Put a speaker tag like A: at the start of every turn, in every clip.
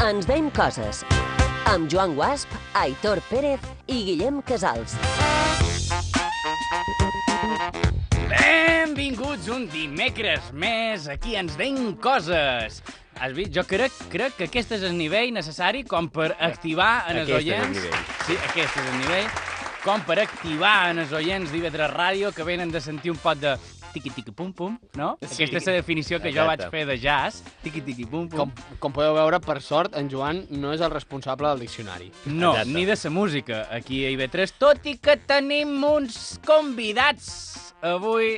A: Ens veiem coses. Amb Joan Guasp, Aitor Pérez i Guillem Casals.
B: Benvinguts un dimecres més, aquí ens veiem coses. Has vist? Jo crec, crec que aquest és el nivell necessari com per activar en els
C: Aquest és el
B: oients...
C: nivell.
B: Sí, aquest és el nivell. Com per activar en els oients d'IV3 Ràdio que venen de sentir un pot de tiqui-tiqui-pum-pum, no?
C: Sí.
B: Aquesta és la definició que jo vaig
C: Exacte.
B: fer de jazz, tiqui-tiqui-pum-pum.
D: Com, com podeu veure, per sort, en Joan no és el responsable del diccionari.
B: No,
C: Exacte.
B: ni de sa música, aquí a IB3, tot i que tenim uns convidats avui,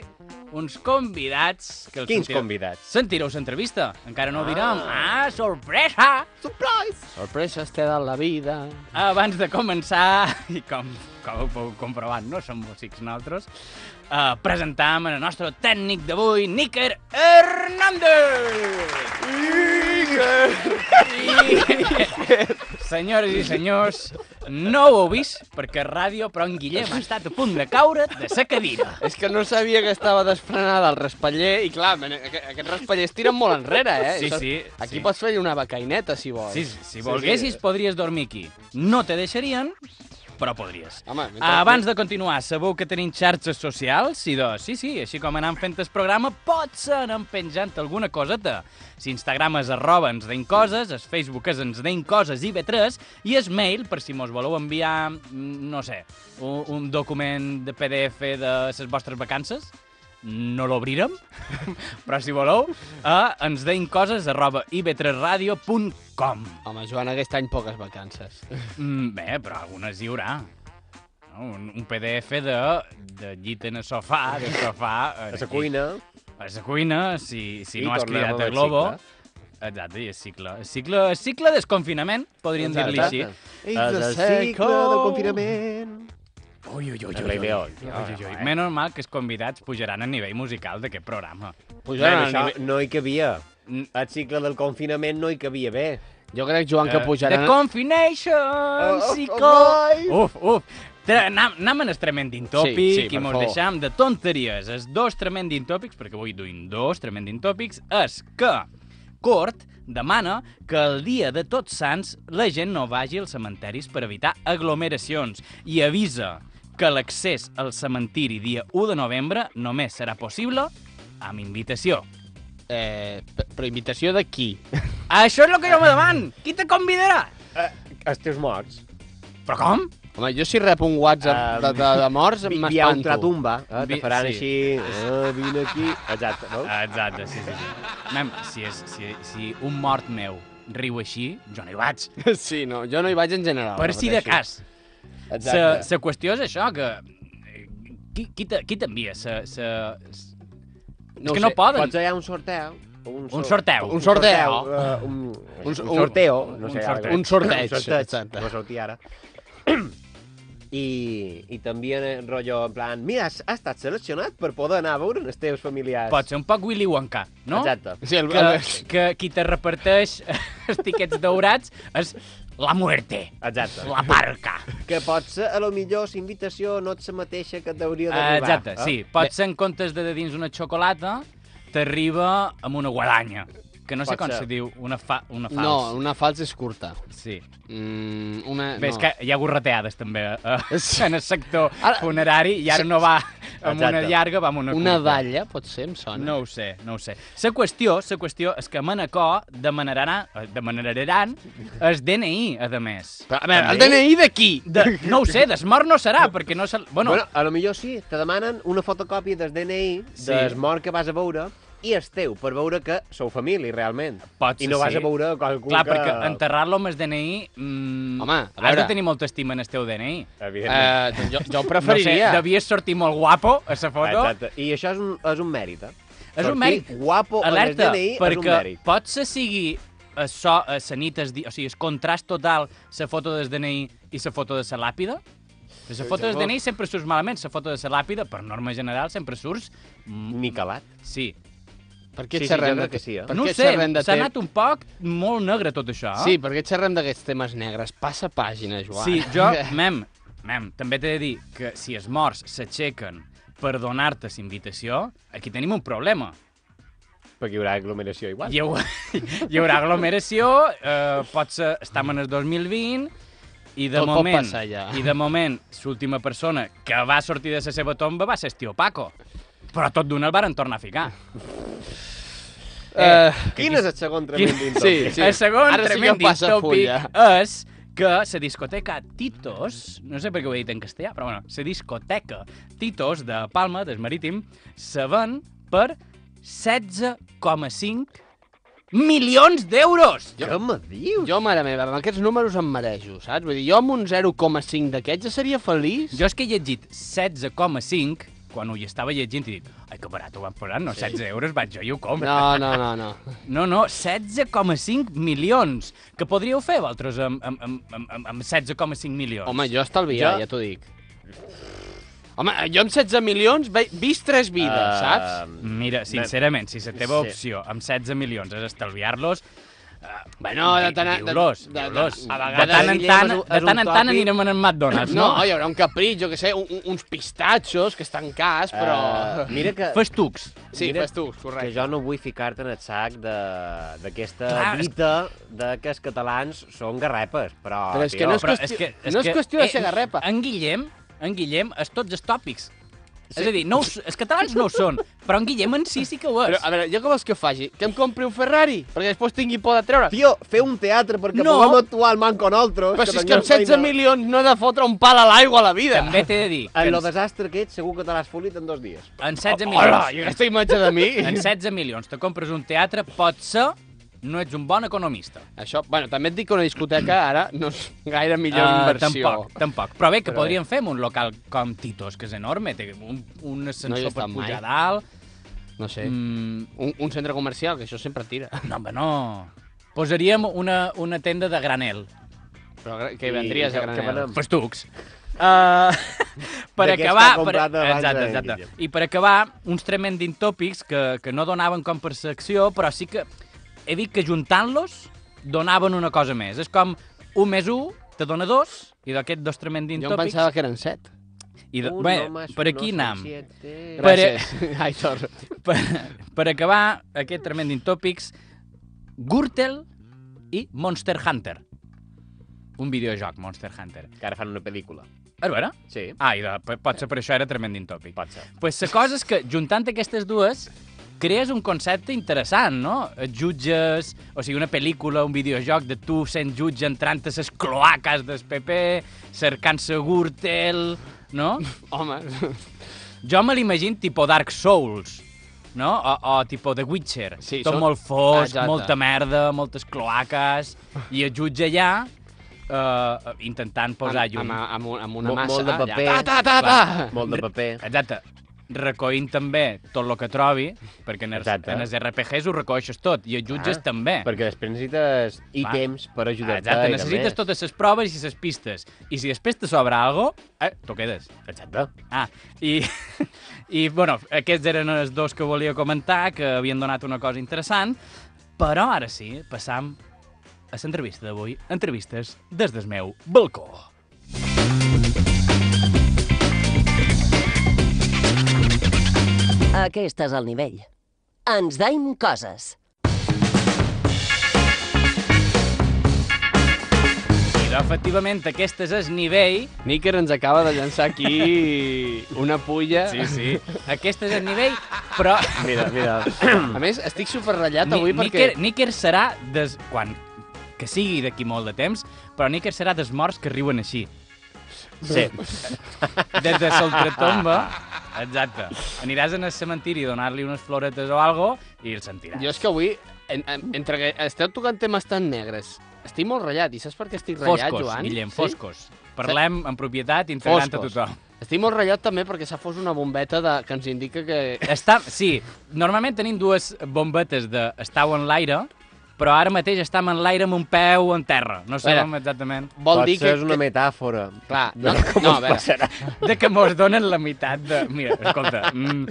B: uns convidats... Que els
C: Quins convidats?
B: Sentireu l'entrevista, encara no ho direm. Ah, sorpresa!
D: Surprise! Sorpreses té de la vida.
B: Abans de començar, i com, com heu pogut comprovar, no som músics nosaltres, eh, presentam el nostre tècnic d'avui, Níker Hernández! Níker! Senyores i senyors, no ho heu vist, perquè ràdio, però en Guillem ha estat a punt de caure de sa cadira.
D: És que no sabia que estava desprenada el raspaller i, clar, men- aqu- aquests raspallers tiren molt enrere, eh?
B: Sí, sí,
D: Aquí
B: sí.
D: pots fer-hi una becaineta, si vols.
B: Si, si volguessis, podries dormir aquí. No te deixarien, però podries.
D: Home, mentre-
B: Abans de continuar, sabeu que tenim xarxes socials? Sí, doncs, sí, sí, així com anant fent el programa, potser anem penjant alguna coseta. Si Instagram és arroba ens deim coses, el Facebook és ens deim coses i B3, i el mail, per si mos voleu enviar, mm, no sé, un, un document de PDF de les vostres vacances, no l'obrirem, però si voleu, a ens deim coses arroba ib3radio.com.
D: Home, Joan, aquest any poques vacances.
B: Mm, bé, però algunes hi haurà. No? Un, un PDF de, de llit en el sofà, de sofà... en
C: A la
B: aquí.
C: cuina.
B: A la cuina, si, si
C: I
B: no has
C: tornem
B: cridat
C: al
B: a Globo. Exacte, i és cicle. És cicle, és cicle desconfinament, podríem dir-li així.
C: Exacte. És el cicle del confinament.
B: Ui, ui, ui,
C: El Rei León.
B: Ui, ui, ui. Menys mal que els convidats pujaran a nivell musical d'aquest programa.
C: Bueno,
D: Pujaran al
C: això
D: nivell...
C: no hi cabia.
B: Mm.
C: El cicle del confinament no hi cabia bé.
D: Jo crec, Joan, que
B: Eh,
D: pujaran...
B: The Confination,
D: Doncs,
C: Oh, oh,
B: sí,
C: oh, guai.
B: Uf, uf. Tra- Anam, anam en el Tremendin Tòpic
D: Sí, sí,
B: i
D: per
B: mos
D: favor.
B: deixam de tonteries. Els dos Tremendin Tòpics, perquè avui duim dos Tremendin Tòpics, és que Cort demana que el dia de tots sants la gent no vagi als cementaris per evitar aglomeracions i avisa que l'accés al cementiri dia 1 de novembre només serà possible amb invitació.
D: Eh, p- però invitació de qui?
B: Això és el que jo me deman! Qui te convidarà?
C: Eh, els teus morts.
B: Però com?
D: Home, jo si rep un WhatsApp de, de, de morts,
C: Vi- vi- hi ha un
D: m'espanto.
C: tratumba. Eh, te
B: Vi-
C: faran
B: sí.
C: així. Eh, vine aquí. Exacte, veus?
B: Ah, Exacte, sí, sí. sí. Mem, si, és, si, si un mort meu riu així, jo no hi vaig.
D: Sí, no, jo no hi vaig en general.
B: per si de
D: repeteixo.
B: cas. La
C: Exacte.
B: la qüestió és això, que... eh, Qui, qui te- qui t'envia? Se, se, s- és
D: ho
B: que no
D: sé.
B: poden.
C: Pots hallar un sorteu. Un,
B: Un
C: sor-
B: sorteu.
D: Un sorteo.
C: eh, un,
D: Un-
C: un
D: un-
C: sorteo. No
B: un
C: sé,
B: sorteig.
C: ara.
D: Un sorteig,
C: Un sorteig.
D: exacte.
C: No sortia ara. I, i també en rotllo, en plan, mira, has, has estat seleccionat per poder anar a veure els teus familiars.
B: Pot ser un poc Willy Wonka, no?
C: Exacte.
D: Sí, el,
B: Que,
D: el,
B: que qui te reparteix els tiquets daurats és la muerte,
C: Exacte.
B: la parca.
C: Que potser, a lo millor, la invitació no és la mateixa que t'hauria d'arribar.
B: Eh, Exacte,
D: eh?
B: sí. Pot ser en comptes de, de dins una xocolata, t'arriba amb una guadanya. Que no sé
C: Pot
B: com
C: ser.
B: se diu, una, fa, una fals.
D: No, una falsa és curta.
B: Sí.
D: Mm, una...
B: Bé,
D: no.
B: és que hi ha gorrateades també eh, en el sector
D: Ara-
B: funerari i ara no va amb una
C: Exacte.
B: llarga, va amb una
D: Una
B: curta.
D: dalla, pot ser, em sona.
B: No ho sé, no ho sé. La qüestió, la qüestió és que a Manacor demanaran, eh, demanaran el DNI, a més.
D: Però, a veure, el DNI de qui?
B: De, no ho sé, desmort no serà, perquè no se...
C: Bueno,
B: Bueno,
C: bueno, a lo millor sí, te demanen una fotocòpia del DNI,
B: Sí.
C: sí. del mort que vas a veure, i el teu, per veure que sou família, realment.
B: Pot
C: I
B: ser,
C: no vas a
B: sí.
C: veure qualcú
B: clar,
C: que...
B: perquè enterrar-lo amb el DNI... Mm,
D: Home, a
B: has de
D: veure.
B: tenir molta estima en el teu DNI.
C: Evidentment.
D: Eh, doncs jo, jo
B: No
D: ho
B: sé,
D: preferiria.
B: devies sortir molt guapo a la foto.
C: Exacte. I això és un, és un mèrit, eh?
B: És un
C: Sortir
B: mèrit.
C: guapo en
B: Alerta,
C: el DNI és un
B: perquè
C: mèrit.
B: pot ser sigui a so, a sa nit, es di... o sigui, el contrast total, la foto del DNI i la foto de la làpida. La foto del
C: llavors-
B: DNI sempre surts malament, la foto de la làpida, per norma general, sempre surts... mm,
C: Nicalat.
B: Sí.
D: Per què
C: Sí, sí, jo
D: xerrem
C: crec
D: de
C: que sí, eh?
D: Per
B: no ho
D: què
B: sé,
D: xerrem de
B: s'ha
D: te-
B: anat un poc molt negre tot això. eh?
D: Sí, per què xerrem d'aquests temes negres? Passa pàgina, Joan.
B: Ah? Sí, jo, mem, mem, també t'he de dir que si els morts s'aixequen per donar-te la invitació, aquí tenim un problema.
C: perquè hi haurà aglomeració igual.
B: Hi, hau... hi haurà aglomeració, eh, pot ser, estem en el 2020, i de
D: Tot pot
B: moment,
D: passar ja.
B: i de moment, l'última persona que va sortir de la seva tomba va ser el tio Paco. Però tot d'un el varen tornar a ficar.
D: Eh,
C: Quin és el segon tremendin
D: Sí,
C: tòpic?
D: sí.
B: El segon
D: Ara sí que
B: tremend
D: em passa
B: distòpic és que la discoteca Titos, no sé per què ho he dit en castellà, però bueno, la discoteca Titos de Palma, del Marítim, se ven per 16,5 milions d'euros!
C: Què me dius?
D: jo, mare meva, amb aquests números em marejo, saps? Vull dir, jo amb un 0,5 d'aquests ja seria feliç.
B: Jo és que he llegit 16,5 quan ho hi estava llegint i dic, ai, que barat ho van posar, no, 16 euros vaig jo i ho compro.
D: No, no, no, no.
B: No, no, 16,5 milions, que podríeu fer vosaltres amb, amb, amb, amb, amb 16,5 milions.
D: Home, jo estalviar,
C: Jo-
D: ja t'ho dic. Home, jo amb 16 milions ve- vist tres vides,
C: Eh,
D: saps?
B: Mira, sincerament, si la teva
C: Sí.
B: opció amb 16 milions és estalviar-los, eh,
D: Bueno, de tant en
B: diu-los,
D: de- de-
B: diu-los. De
D: A
B: tant en
D: vegades...
B: tant,
C: és un-
B: de
C: és
B: tant,
C: un
B: en tant
C: tòpic.
B: anirem en McDonald's,
D: No,
B: no?
D: hi haurà un capritx, jo què sé, un, un- uns pistatxos que estan cars, però...
C: Eh, mira que...
B: Fes tucs.
D: Sí,
C: mira
D: fes tu, correcte.
C: Que jo no vull ficar-te en el sac de- d'aquesta
B: Clar, és-
C: dita de que els catalans són garrepes, però...
D: Però és que
C: tio,
D: no és
B: Però
D: qüestió-
B: és que...
D: no és qüestió de
B: eh,
D: ser garrepa.
B: En Guillem, en Guillem, és tots els tòpics. És a dir, no us, els catalans no ho són, però en Guillem en si sí que ho és.
D: Però, a veure, jo què vols que faci? Que em compri un Ferrari? Perquè després tingui por de treure.
C: Tio, fer un teatre perquè
B: No.
C: puguem actuar al manco nosaltres.
D: Però si és que amb
C: tinguem
D: 16
C: feina.
D: milions no he de fotre un pal a l'aigua a la vida.
B: També t'he de dir que
C: En
B: en,
C: lo desastre que ets, segur que te l'has folit en dos dies.
B: en 16
D: Hola, i
B: milions,
D: aquesta imatge de mi.
B: en 16 milions te compres un teatre, potser no ets un bon economista.
D: Això, bueno, també et dic que una discoteca ara no és gaire millor
B: Ah,
D: inversió.
B: Tampoc, tampoc. Però bé, que
D: Però
B: Però podríem fer amb un local com Titos, que és enorme, té un, un ascensor
D: he
B: per
D: estat mai.
B: pujar a dalt.
D: No sé, mm.
B: Mm,
D: un, un centre comercial, que això sempre tira.
B: no, home, no. Posaríem una, una tenda de granel.
D: Però gra- que
C: I-
D: vendries
C: que-
D: a
C: que
D: Granel.
C: venem.
B: Festucs. Uh, per
C: D'aquesta
B: acabar... Per,
C: comprada abans
B: exacte,
C: de-
B: exacte. I per acabar, uns tremendin tòpics que, que no donaven com per secció, però sí que he dit que juntant-los donaven una cosa més. És com un més un te dona dos, i d'aquests dos tremendin
D: Jo em
B: tòpics...
D: pensava que eren 7.
B: I de...
C: Un,
B: bé,
C: no más,
B: per
C: uno
B: aquí
C: son
B: anam.
C: siete.
B: Per-
D: Gràcies, Aitor.
B: per, per acabar aquest Tremendin Topics, Gürtel i Monster Hunter. Un videojoc, Monster Hunter.
C: Que ara fan una pel·lícula.
B: A veure?
C: Sí,
B: Ah, i de, potser per això era Tremendin Topic.
C: pot ser.
B: pues la cosa és que, juntant aquestes dues, crees un concepte interessant, no? Et jutges, o sigui, una pel·lícula, un videojoc de tu sent jutge entrant a les cloaques del PP, cercant-se Gürtel, no?
D: Home,
B: Jo me l'imagino tipo Dark Souls, no? O, o tipo The Witcher.
D: Sí,
B: Tot
D: són- Ah,
B: molt fosc,
D: Exacte.
B: molta merda, moltes cloaques, i el jutge allà eh, intentant posar
D: amb,
B: llum.
D: amb, amb, un- amb una
C: Mo-
D: massa.
C: molt de
D: allà.
C: paper.
D: Ta, ta, ta, ta.
C: Molt de paper.
B: Exacte. Recoint també tot el que trobi, perquè en els,
C: Exacte.
B: en els RPGs ho recoixes tot, i els jutges
C: Ah,
B: també.
C: Perquè després necessites
B: Va.
C: ítems per ajudar-te.
B: Ah, Exacte,
C: i
B: necessites
C: també.
B: totes les proves i les pistes. I si després te sobra alguna cosa, eh, t'ho quedes.
C: Exacte.
B: Ah, i, i bueno, aquests eren els dos que volia comentar, que havien donat una cosa interessant, però ara sí, passam a l'entrevista d'avui, entrevistes des del meu balcó.
A: Aquest és el nivell. Ens daim coses.
B: I doncs, efectivament, aquest és el nivell,
D: Níker ens acaba de llançar aquí una pulla.
B: sí, sí, aquest és el nivell, però...
C: Mira, mira.
D: A més, estic superratllat avui
B: Ni- Níker,
D: perquè...
B: Níker serà des... quan que sigui d'aquí molt de temps, però Níker serà dels morts que riuen així.
C: Sí.
B: des de l'ultratomba. Exacte. Aniràs en el cementiri a donar-li unes floretes o algo i el sentiràs.
D: Jo és que avui, en, en, entre que esteu tocant temes tan negres, estic molt ratllat. I saps per què estic ratllat,
B: Foscos,
D: Joan?
B: Guillem, foscos. Parlem en propietat, integrant a
D: Foscos.
B: tothom.
D: Estic molt ratllat també perquè s'ha fos una bombeta de, que ens indica que...
B: Està, sí, normalment tenim dues bombetes de estar en l'aire, però ara mateix estem en l'aire amb un peu en terra. No sabem exactament
D: Vol dir que...
C: Potser és una metàfora.
D: Clar,
C: de
D: no,
C: com
D: no, a
C: ens
D: veure.
C: passarà.
B: de que mos donen la meitat de... Mira, escolta, mm,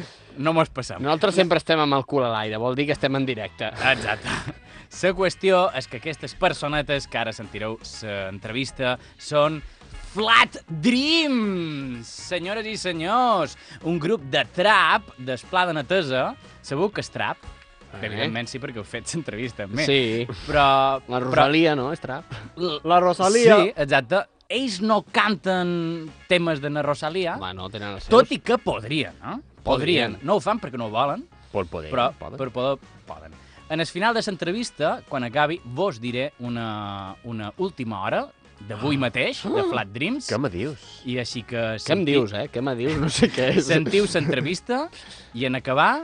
B: no mos passem.
D: Nosaltres sempre estem amb el cul a l'aire, vol dir que estem en directe.
B: Exacte. La qüestió és que aquestes personetes que ara sentireu l'entrevista són Flat Dreams, senyores i senyors, un grup de trap d'Esplà de Netesa. Sabeu que és trap?
D: Eh.
B: Evidentment sí, perquè heu fet l'entrevista amb mi.
D: Sí.
B: Però...
D: La Rosalia, no? És trap.
C: La Rosalia.
B: Sí, exacte. Ells no canten temes de na Rosalia,
D: Home, no, tenen els seus.
B: tot i que podrien, no?
D: Podrien.
B: Podrien. No ho fan perquè no ho volen,
C: Por poder.
B: però
D: poden.
B: per poder poden. En el final de l'entrevista, quan acabi, vos diré una, una última hora d'avui mateix, de Flat Dreams,
C: Ah. Què me dius?
B: i així que...
D: Què em
B: senti-
D: dius, eh? Què me dius? No sé què és.
B: Sentiu l'entrevista i en acabar,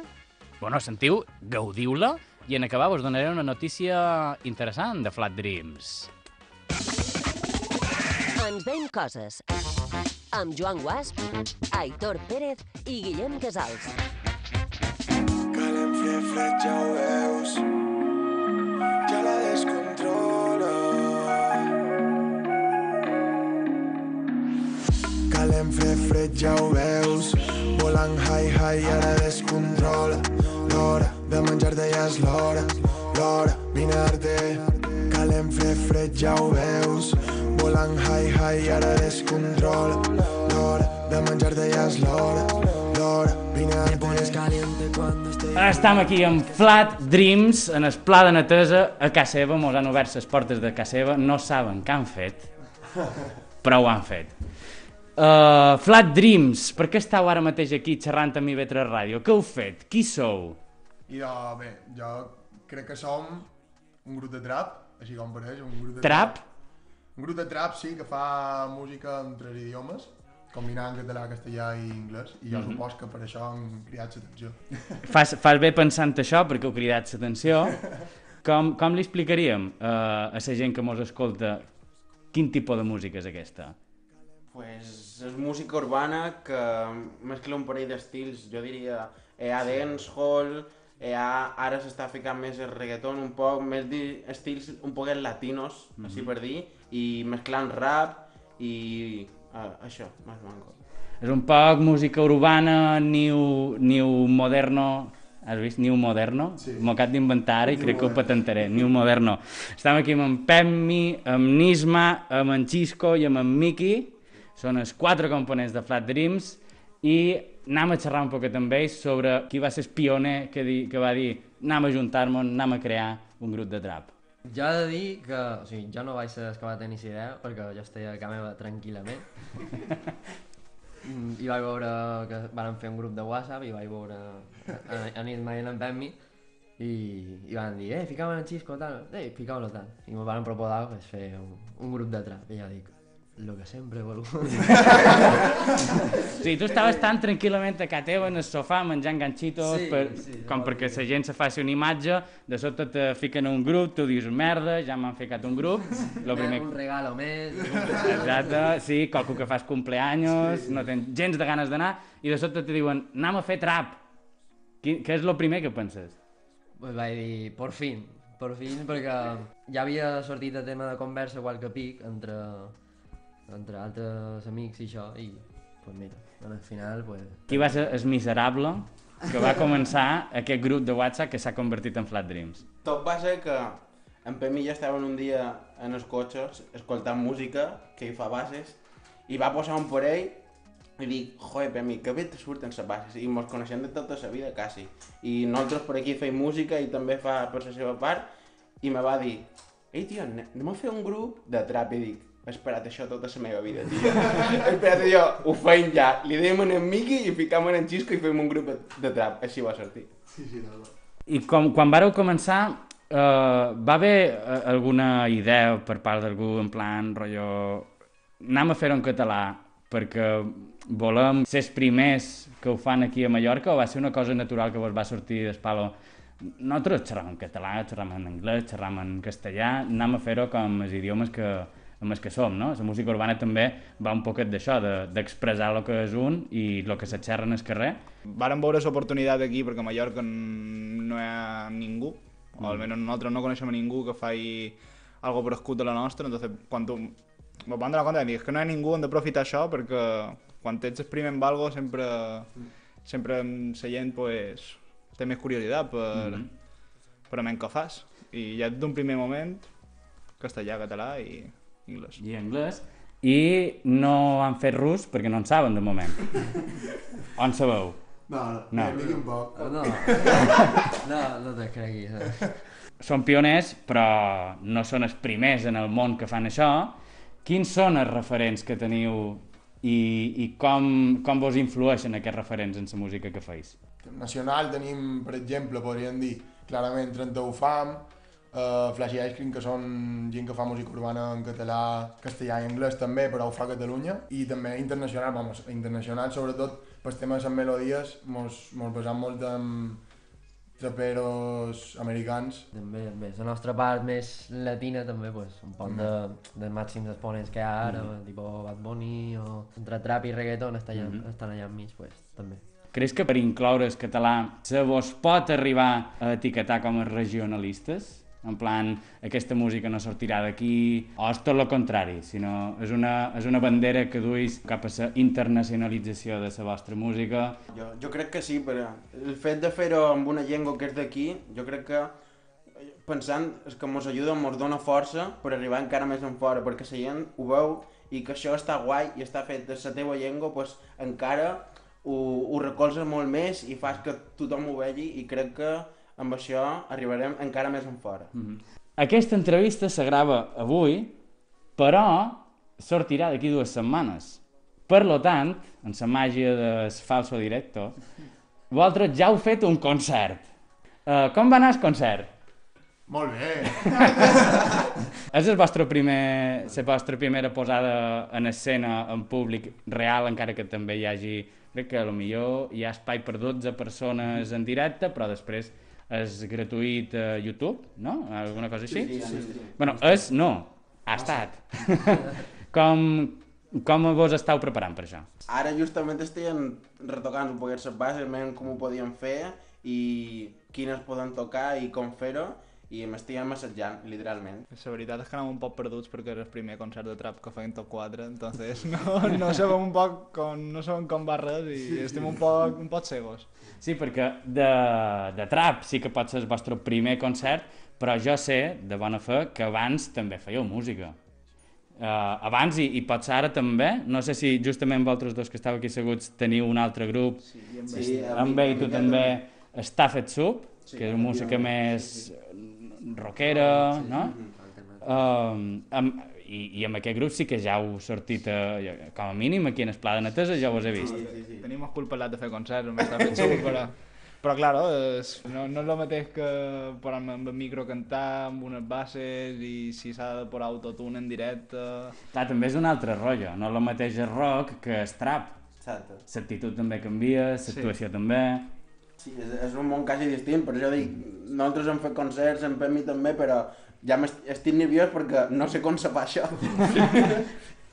B: bueno, sentiu, gaudiu-la, i en acabar vos donaré una notícia interessant de Flat Dreams.
A: Ens veiem coses. Amb Joan Guasp, Aitor Pérez i Guillem Casals.
E: Calen fle ja ho veus Ja la descontrola Calen fre ja ho veus Volant high high i ara descontrola L'hora de menjar-te ja és l'hora L'hora vinar-te Calen fre ja ho veus Volant high high i ara descontrola L'hora de menjar-te ja és l'hora L'hora vinar-te caliente cuando estés
B: Estem aquí amb Flat Dreams, en el pla de netesa, a casa seva, mos han obert les portes de casa seva, no saben què han fet, però ho han fet. Uh, Flat Dreams, per què estàu ara mateix aquí xerrant amb IB3 Ràdio? Què heu fet? Qui sou?
F: I de, bé, jo crec que som un grup de trap, així com pareix, un grup de
B: Trap?
F: Un grup de trap, sí, que fa música en tres idiomes, combinant català, castellà i anglès, i jo supos que per això han cridat l'atenció.
B: Fas, fas bé pensant això perquè heu cridat l'atenció. Com, com li explicaríem uh, a la gent que mos escolta quin tipus de música és aquesta?
G: Pues és música urbana que mescla un parell d'estils, jo diria eh, EA dancehall, EA eh, ara s'està ficant més el reggaeton un poc, més di- estils un poc latinos, mm -hmm. així per dir, i mesclant rap i uh, això, més manco.
B: És un poc música urbana, new, new moderno... Has vist? New moderno? Sí. M'ho acabo d'inventar ara i crec que ho patentaré. New moderno. Estem aquí amb en Pemmi, amb Nisma, amb en Xisco i amb en Miki. Són els quatre components de Flat Dreams i anem a xerrar un poquet amb ells sobre qui va ser el pioner que, di, que va dir anem a juntar-nos, anem a crear un grup de trap.
H: Jo he de dir que, o sigui, jo no vaig ser dels que va tenir idea, perquè jo estava a casa meva tranquil·lament. Mm, I vaig veure que van fer un grup de WhatsApp i vaig veure eh, a Nitma i en Pemmi i, i van dir, eh, fica'm en el Xisco, tal, eh, fica'm-lo, tal. I m'ho van proposar pues, fer un, un grup de trap. I jo dic, lo que sempre he volgut.
B: O sigui, tu estaves tan tranquil·lament a casa teva, en el sofà, menjant ganxitos,
H: Sí,
B: per,
H: sí,
B: com
H: no,
B: perquè la gent se faci una imatge, de sota te fiquen a un grup, tu dius, merda, ja m'han ficat un grup, lo primer...
H: Un regalo més.
B: Exacte, sí, qualcú que fas cumpleaños, no tens gens de ganes d'anar, i de sota te diuen, anem a fer trap. Qui, què és lo primer que penses?
H: Pues vaig dir, por fin, por fin, perquè ja havia sortit a tema de conversa qual que pic entre, entre altres amics i això, i pues mira, en el final, pues...
B: Qui va ser el miserable que va començar aquest grup de WhatsApp que s'ha convertit en Flat Dreams?
G: Tot va ser que en Pemi ja estaven un dia en els cotxes escoltant música, que hi fa bases, i va posar un parell i dic, joder, Pemi, que bé te surten les bases, i mos coneixem de tota la vida, quasi. I nosaltres per aquí feim música i també fa per la seva part, i me va dir, ei, tio, anem anem a fer un grup de trap, i dic, he esperat això tota la meva vida, tio. he esperat jo, ho feim ja, li dèiem en en Miqui i ficam en en Xisco i fem un grup de, de trap, així va sortir.
B: I com, quan vàreu començar, eh, va haver eh, alguna idea per part d'algú en plan, rotllo, anem a fer-ho en català perquè volem ser els primers que ho fan aquí a Mallorca o va ser una cosa natural que vos va sortir d'espalo? Nosaltres xerram en català, xerram en anglès, xerram en castellà, anem a fer-ho com els idiomes que, amb els que som, no? La música urbana també va un poquet d'això, de- d'expressar el que és un i el que se xerra en el carrer.
I: Varen veure l'oportunitat aquí perquè a Mallorca n- no hi ha ningú,
B: Mm.
I: o almenys nosaltres no coneixem a ningú que faci algo parecido a la nostra, entonces quan tu me van donar compte, dic, "És que no hi ha ningú, hem d'aprofitar això perquè quan ets el primer en algo sempre, sempre la gent pues, té més curiositat per,
B: Mm-hmm.
I: per a menys que fas. I ja d'un primer moment, castellà, català i anglès.
B: i anglès i no han fet rus perquè no en saben de moment. On sabeu?
F: No, no,
B: No.
F: no. Mira, un poc.
H: No, no, no te creguis. Eh?
B: Són pioners, però no són els primers en el món que fan això. Quins són els referents que teniu i, i com, com vos influeixen aquests referents en la música que feis?
F: Nacional tenim, per exemple, podríem dir, clarament 31 fam, eh, Flash i Ice Cream, que són gent que fa música urbana en català, castellà i anglès també, però ho fa a Catalunya, i també internacional, vamos, internacional sobretot, pel tema de les melodies, mos, mos basam molt en traperos americans,
H: També, també. La nostra part més latina també, pues, un poc de, dels màxims exponents que hi ha ara, mm. tipo Bad Bunny o entre trap i reggaeton estan allà, estan allà enmig, pues, també.
B: Creus que per incloure el català se vos pot arribar a etiquetar com a regionalistes? En plan, aquesta música no sortirà d'aquí, o és tot el contrari, sinó és una, és una bandera que duis cap a la internacionalització de la vostra música.
G: Jo, jo crec que sí, però el fet de fer-ho amb una llengua que és d'aquí, jo crec que eh, pensant és que mos ajuda, mos dona força per arribar encara més en fora, perquè la gent ho veu i que això està guai i està fet de la teva llengua, doncs encara ho, ho recolzes molt més i fas que tothom ho vegi i crec que amb això arribarem encara més en fora.
B: Aquesta entrevista se grava avui, però sortirà d'aquí dues setmanes. Per lo tant, en la màgia del falso directo, vosaltres ja heu fet un concert. Uh, com va anar el concert?
F: molt bé!
B: És el vostre primer, la vostra primera posada en escena, en públic, real, encara que també hi hagi... Crec que a lo millor hi ha espai per 12 persones en directe, però després és gratuït a YouTube, no? Alguna cosa així? Sí, sí, sí. Bueno, és no, ha estat. com, com vos esteu preparant per això?
G: Ara justament estem retocant un poquet les bases, veient com ho podíem fer i quines poden tocar i com fer-ho i m'estiguem assajant, literalment.
I: La veritat és que anàvem un poc perduts perquè era el primer concert de trap que feien tot quatre, entonces no, no sabem un poc com, no sabem com va res i estem un poc, un poc cegos.
B: Sí, perquè de, de trap sí que pot ser el vostre primer concert, però jo sé, de bona fe, que abans també fèieu música. Uh, abans i, i potser ara també, no sé si justament vosaltres dos que estàveu aquí seguts teniu un altre grup, sí,
G: Sí,
B: amb ell tu també, està fet sub, que és música més rockera, no? Um, amb, i, I amb aquest grup sí que ja heu sortit, a, com a mínim, aquí en Esplà de Netesa ja vos he vist.
G: Sí, sí.
I: Tenim el cul pelat de fer concerts, m'està fent xul, però... Però, claro, és, no, no és el mateix que posar-me amb el micro a cantar, amb unes bases, i si s'ha de posar autotune en directe...
B: Clar, també és un altre rotllo, no el mateix és rock que és trap.
G: Exacte.
B: L'actitud també canvia, l'actuació sí. també...
G: Sí, és, és un món quasi distint, per això dic, nosaltres hem fet concerts, en Pemi també, però ja m'est- estic nerviós perquè no sé com se fa això.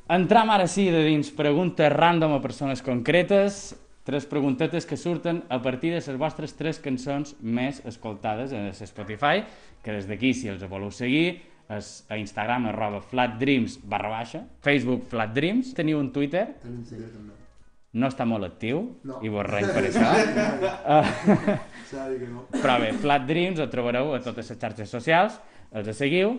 B: Entram ara sí de dins preguntes random a persones concretes, tres preguntetes que surten a partir de les vostres tres cançons més escoltades a Spotify, que des d'aquí, si els voleu seguir, és a Instagram arroba flatdreams barra baixa, Facebook flatdreams, teniu un Twitter,
F: Tenim un Twitter també.
B: no està molt actiu,
F: No.
B: i vos renys per això. Ah.
F: S'ha de dir que no.
B: Però bé, Flat Dreams el trobareu a totes les xarxes socials, els seguiu,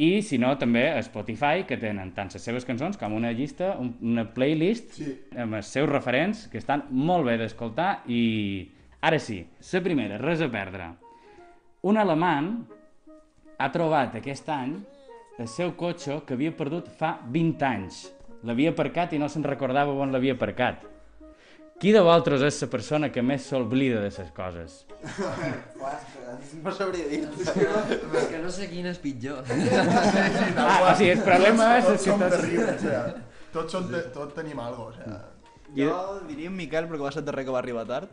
B: i si no, també a Spotify, que tenen tant les seves cançons com una llista, un- una playlist
F: Sí.
B: amb els seus referents, que estan molt bé d'escoltar, i ara sí, la primera, res a perdre. Un alemany ha trobat aquest any el seu cotxe que havia perdut fa 20 anys. L'havia aparcat i no se'n recordava on l'havia aparcat. Qui de vosaltres és la persona que més s'oblida de les coses?
G: No sabria dir-te.
H: És que no sé quin és pitjor.
B: Ah, o sigui, el problema és,
F: Tots
B: és que
F: som
B: tots...
F: terribles, o sigui, tots, som, te- tots tenim algo, o sigui.
I: Jo diria en Miquel, perquè va ser el darrer que va arribar tard.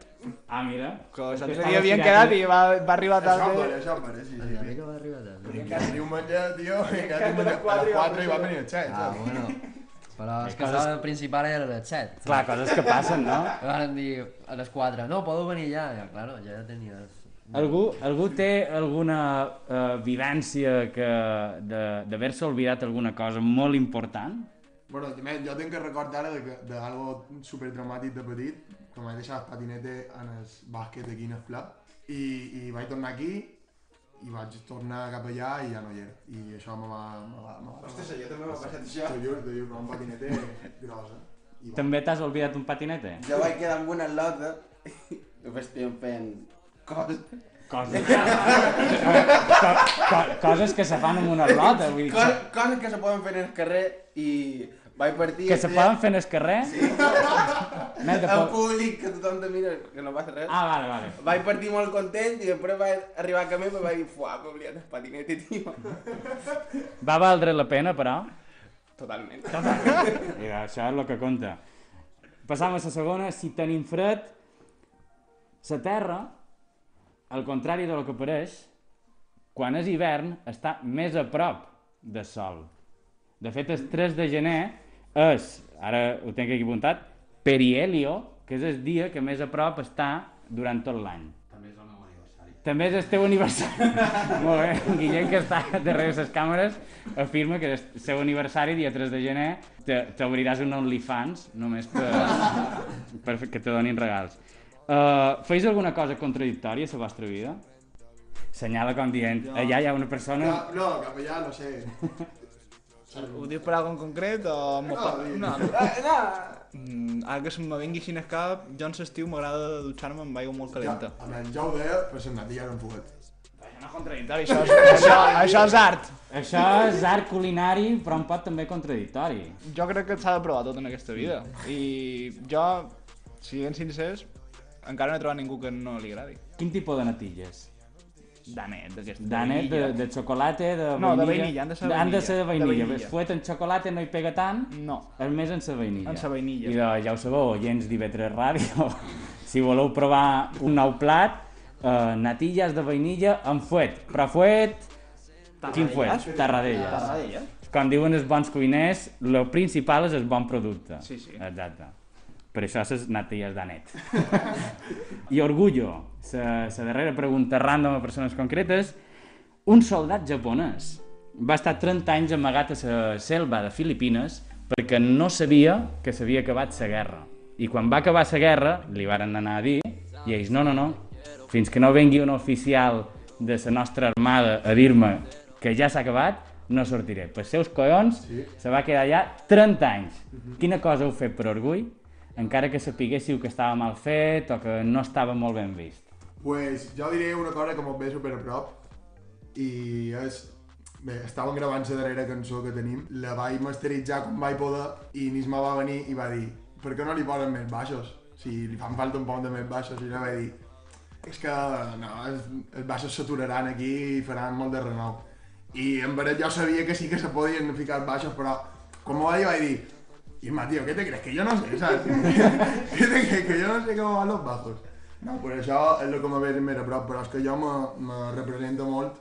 B: Ah, mira.
I: Que
B: És que
I: l'altre
B: estava
I: dia havien
B: estirat,
I: quedat
B: eh?
I: i va, va arribar
F: Això em
I: tard.
F: pare, això em pare, sí, sí. sí.
H: Que va arribar tant.
F: Diumenge, tio, vinga, diumenge, a les 4 i va venir el xet,
H: Ah,
F: saps?
H: bueno. Però és que
B: coses-
H: la principal era les 7.
B: Clar, coses que passen, no?
H: Van dir a les 4, no, podeu venir ja. Ja, claro, ja tenies...
B: Algú, algú té alguna eh, vivència que de- d'haver-se oblidat alguna cosa molt important?
F: Bueno, també, jo tinc que recordar ara de- d'algo super dramàtic de petit, que m'he deixat el patinet en el bàsquet aquí en el pla, i, i vaig tornar aquí, i vaig tornar cap allà i ja no hi era. I això me va... Me va, me va Hòstia,
G: Jo també m'ha passat això.
F: t'ho juro, t'ho juro, però un patinet gros, eh? I va.
B: També t'has oblidat un eh? patinete?
G: Jo vaig quedar amb una lota estem fent cos...
B: Coses, co- co- coses que se fan amb una rota, vull dir,
G: cos
B: que-
G: coses que se poden fer en el carrer i vaig partir...
B: que se poden fer en el carrer. Net de
G: En
B: po-
G: públic, que tothom te mira, que no passa res.
B: Ah, vale, vale.
G: Vaig partir molt content i després vaig arribar a camí i vaig dir, fuà, m'he oblidat el patinet i tio.
B: Va valdre la pena, però.
G: Totalment.
B: Mira, això és el que compta. Passam a la segona, si tenim fred, la terra, al contrari del que pareix, quan és hivern està més a prop de sol. De fet, el 3 de gener és, ara ho tenc aquí apuntat, perihelio, que és el dia que més a prop està durant tot l'any. També és el teu aniversari. Molt bé, Guillem, que està darrere les càmeres, afirma que és el seu aniversari, dia 3 de gener, te- t'obriràs un OnlyFans només per, per fer- que te donin regals. Uh, feis alguna cosa contradictòria a la vostra vida? Senyala com dient, allà hi ha una persona...
F: Cap- No, cap allà, no sé.
I: Ho dius per algo en concret o... m'ho
F: No, Ah,
I: pa-
F: digue.
I: Mm, ara que se'm vengui així en el cap, jo en l'estiu m'agrada dutxar-me amb aigua molt
F: Ja,
I: calenta.
F: a més, ja ho deia, però se'n anat i ja no hem pogut.
I: Això, és, això, això és art.
B: Això és art culinari, però un pot també contradictori.
I: Jo crec que s'ha de provar tot en aquesta vida. I jo, siguent sincers, encara no he trobat ningú que no li agradi.
B: Quin tipus de natilles?
I: Danet, d'aquesta.
B: Danet de, de xocolata, de vainilla...
I: No, de vainilla, han de ser de
B: Han de
I: vainilla.
B: ser de
I: De
B: vainilla.
I: vainilla.
B: Es fuet en xocolata no hi pega tant,
I: No.
B: És més en sa vainilla.
I: En sa vainilla.
B: I de, ja ho sabeu, oients d'IV3 Ràdio, si voleu provar un nou plat, eh, natilles de vainilla amb fuet. Però fuet... Quin
I: Ah,
B: fuet? Tarradellas. Com diuen els bons cuiners, lo principal és el bon producte.
I: Sí, sí.
B: Exacte. Per això ses natilles d'anet. I orgullo, la darrera pregunta random a persones concretes, un soldat japonès va estar 30 anys amagat a la selva de Filipines perquè no sabia que s'havia acabat la guerra. I quan va acabar la guerra, li varen anar a dir, i ells, no, no, no, fins que no vengui un oficial de la nostra armada a dir-me que ja s'ha acabat, no sortiré. Pels seus collons sí. se va quedar allà 30 anys. Quina cosa heu fet per orgull, encara que sapiguéssiu que estava mal fet o que no estava molt ben vist?
F: Pues jo diré una cosa que m'ho ve super a prop i és... Bé, estàvem gravant la darrera cançó que tenim, la vaig masteritzar com vaig poder i Nisma va venir i va dir per què no li posen més baixos? Si li fan falta un pont de més baixos. I jo vaig dir és que no, els, els baixos s'aturaran aquí i faran molt de renou. I en veritat jo sabia que sí que se podien ficar els baixos, però com ho va dir, vaig dir Isma, tío, ¿qué te crees? Que yo no sé, ¿sabes? ¿Qué te crees? Que yo no sé cómo van los bajos. No, pues això és el que me ve més a prop, però és que jo me, me representa molt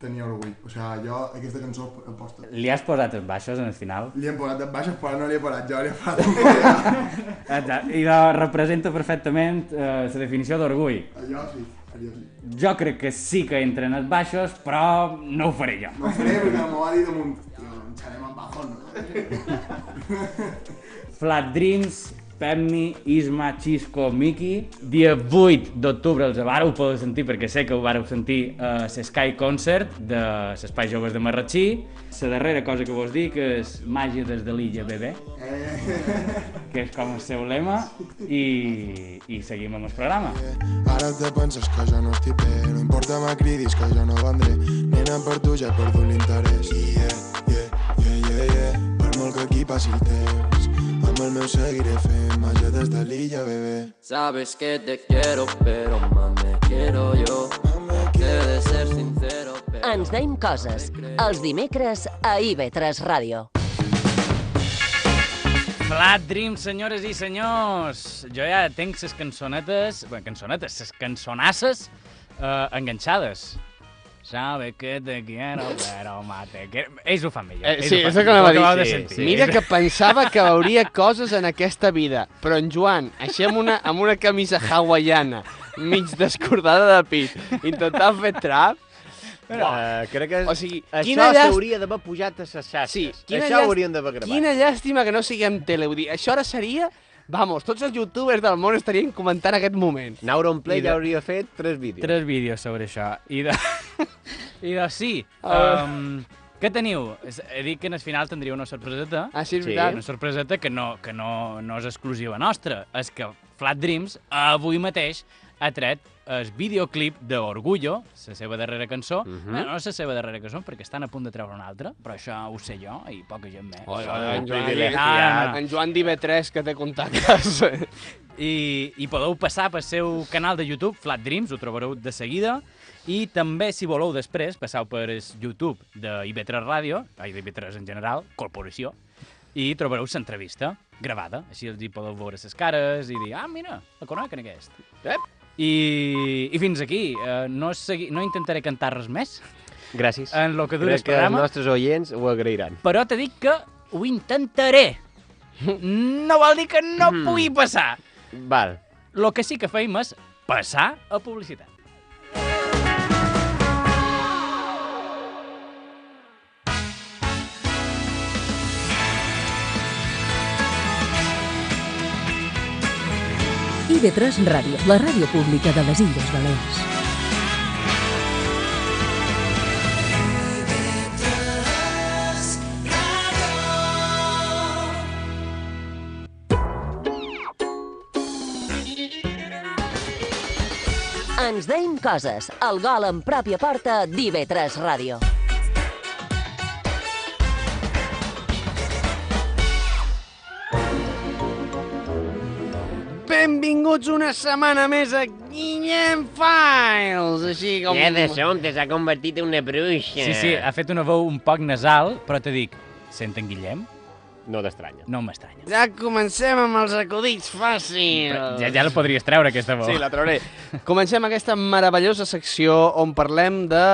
F: tenir orgull. O sigui, jo aquesta cançó he posta.
B: Li has posat els baixos en el final?
F: Li hem posat els baixos, però no li he parat jo, li he parat un col·lega.
B: Exacte. I la representa perfectament eh, la definició d'orgull.
F: Allò sí, allò sí.
B: Jo crec que sí que entren els baixos, però no ho faré jo.
F: No faré perquè m'ho va dir damunt. Tio, ens anem amb bajón, no?
B: Flat Dreams, Pepni, Isma, Xisco, Miki. Dia 8 d'octubre els vàreu poder sentir, perquè sé que ho vàreu sentir eh, a l'Sky Concert de l'Espai Joves de Marratxí. La darrera cosa que vos dic és màgia des de l'illa bebè, que és com el seu lema, i, i seguim amb el programa.
E: Ara te penses que jo no estic bé No importa, me cridis que jo no vendré Nena, per tu ja he perdut l'interès Yeah, yeah, yeah, yeah, yeah Per molt que aquí passi el temps Amb el meu seguiré fent màgia des de l'illa, bebé
H: Sabes que te quiero, pero más me quiero yo. He de ser sincero, pero...
A: Ens deim coses. Els dimecres a IB3 Ràdio.
J: Flat Dream, senyores i senyors! Jo ja tenc ses cançonetes... Bé, cançonetes, ses cançonasses eh, enganxades. Sabe que te quiero, pero mate... Que... Ells ho fan millor.
D: Eh,
J: ells
D: sí,
J: ho fan
D: és el que
J: millor,
D: anava a dir.
J: acabeu de
D: Sí,
J: sentir.
D: sí. Mira que pensava que veuria coses en aquesta vida, però en Joan, així amb una, amb una camisa hawaiana, mig descordada de pit, intentant fer trap,
C: Eh, crec que
D: O sigui,
C: això
D: quina llàst-
C: s'hauria d'haver pujat a les xarxes.
D: sí, quina,
C: això ho hauríem d'haver gravat.
D: quina llàstima que no siguem tele. Vull dir, això ara seria... Vamos, tots els youtubers del món estarien comentant aquest moment.
C: Neuron Play
D: I de-
C: ja hauria fet tres vídeos.
J: Tres vídeos sobre això. I de... I de sí.
D: Ah.
B: ehm,
J: Um, què teniu? És- He dit que en el final tindria una sorpreseta.
D: Així Ah, és
C: Sí,
D: veritat.
J: Una sorpreseta que no, que no, no és exclusiva nostra. És que
B: Flat Dreams, avui mateix ha tret el videoclip d'Orgullo, la seva darrera cançó. Bé, no és la seva darrera cançó, perquè estan a punt de treure una altra, però això ho sé jo i poca gent més.
D: Oi, oi, en Joan,
C: privilegi,
B: ah,
D: en Joan d'IV3 que té contactes.
B: i, i podeu passar pel seu canal de YouTube, Flat Dreams, ho trobareu de seguida, i també, si voleu, després, passeu per el YouTube de IB3 Ràdio, ai, d'IB3 en general, Corporació, i trobareu l'entrevista gravada. Així els hi podeu veure les cares i dir, ah, mira, la coneixen aquest.
D: Ep.
B: I, I fins aquí. Eh, no, segui, no intentaré cantar res més
C: Gràcies.
B: en lo que dura el
C: Crec que els
B: programa,
C: nostres oients ho agrairan.
B: però t'he dit que ho intentaré. No vol dir que no pugui passar.
C: Mm. Val.
B: Lo que sí que feim és passar a publicitat.
A: IB3 Ràdio, la ràdio pública de les Illes Balears. Ens deim coses. El gol en pròpia porta d'IB3 Ràdio.
D: Benvinguts una setmana més a Guillem Files, així com...
C: Sonte s'ha convertit en una bruixa.
B: Sí, sí, ha fet una veu un poc nasal, però te dic, senten Guillem?
C: No t'estranya.
B: No m'estranya.
D: Ja comencem amb els acudits fàcils.
B: Ja, ja la podries treure, aquesta veu.
D: Sí, la trauré. Comencem aquesta meravellosa secció on parlem de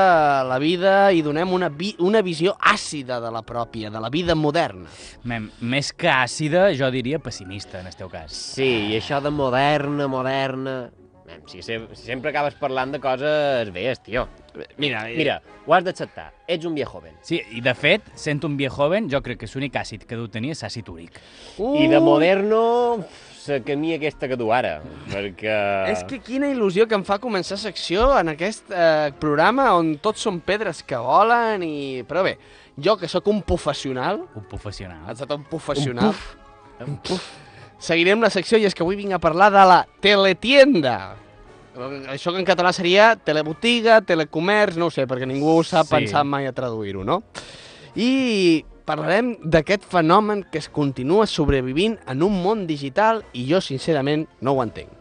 D: la vida i donem una, vi una visió àcida de la pròpia, de la vida moderna.
B: Mem, més que àcida, jo diria pessimista, en el teu cas.
C: Sí, i això de moderna, moderna... Nen, Si, se- si sempre acabes parlant de coses veies, tio.
D: Mira,
B: eh,
C: Mira, ho has d'acceptar. Ets un viejo joven.
B: Sí, i de fet, sent un viejo joven, jo crec que l'únic àcid que deu tenir és àcid úric.
D: uh,
C: I de moderno, se camí aquesta que du ara, perquè...
D: És que quina il·lusió que em fa començar secció en aquest eh, programa on tots són pedres que volen i... Però bé, jo que sóc un professional,
B: Un professional.
D: has estat un professional... Un puf. Un puf. Seguirem la secció i és que avui vinc a parlar de la teletienda. Això que en català seria telebotiga, telecomerç, no ho sé, perquè ningú s'ha
B: Sí.
D: sí. pensat mai a traduir-ho, no? I parlarem d'aquest fenomen que es continua sobrevivint en un món digital i jo, sincerament, no ho entenc.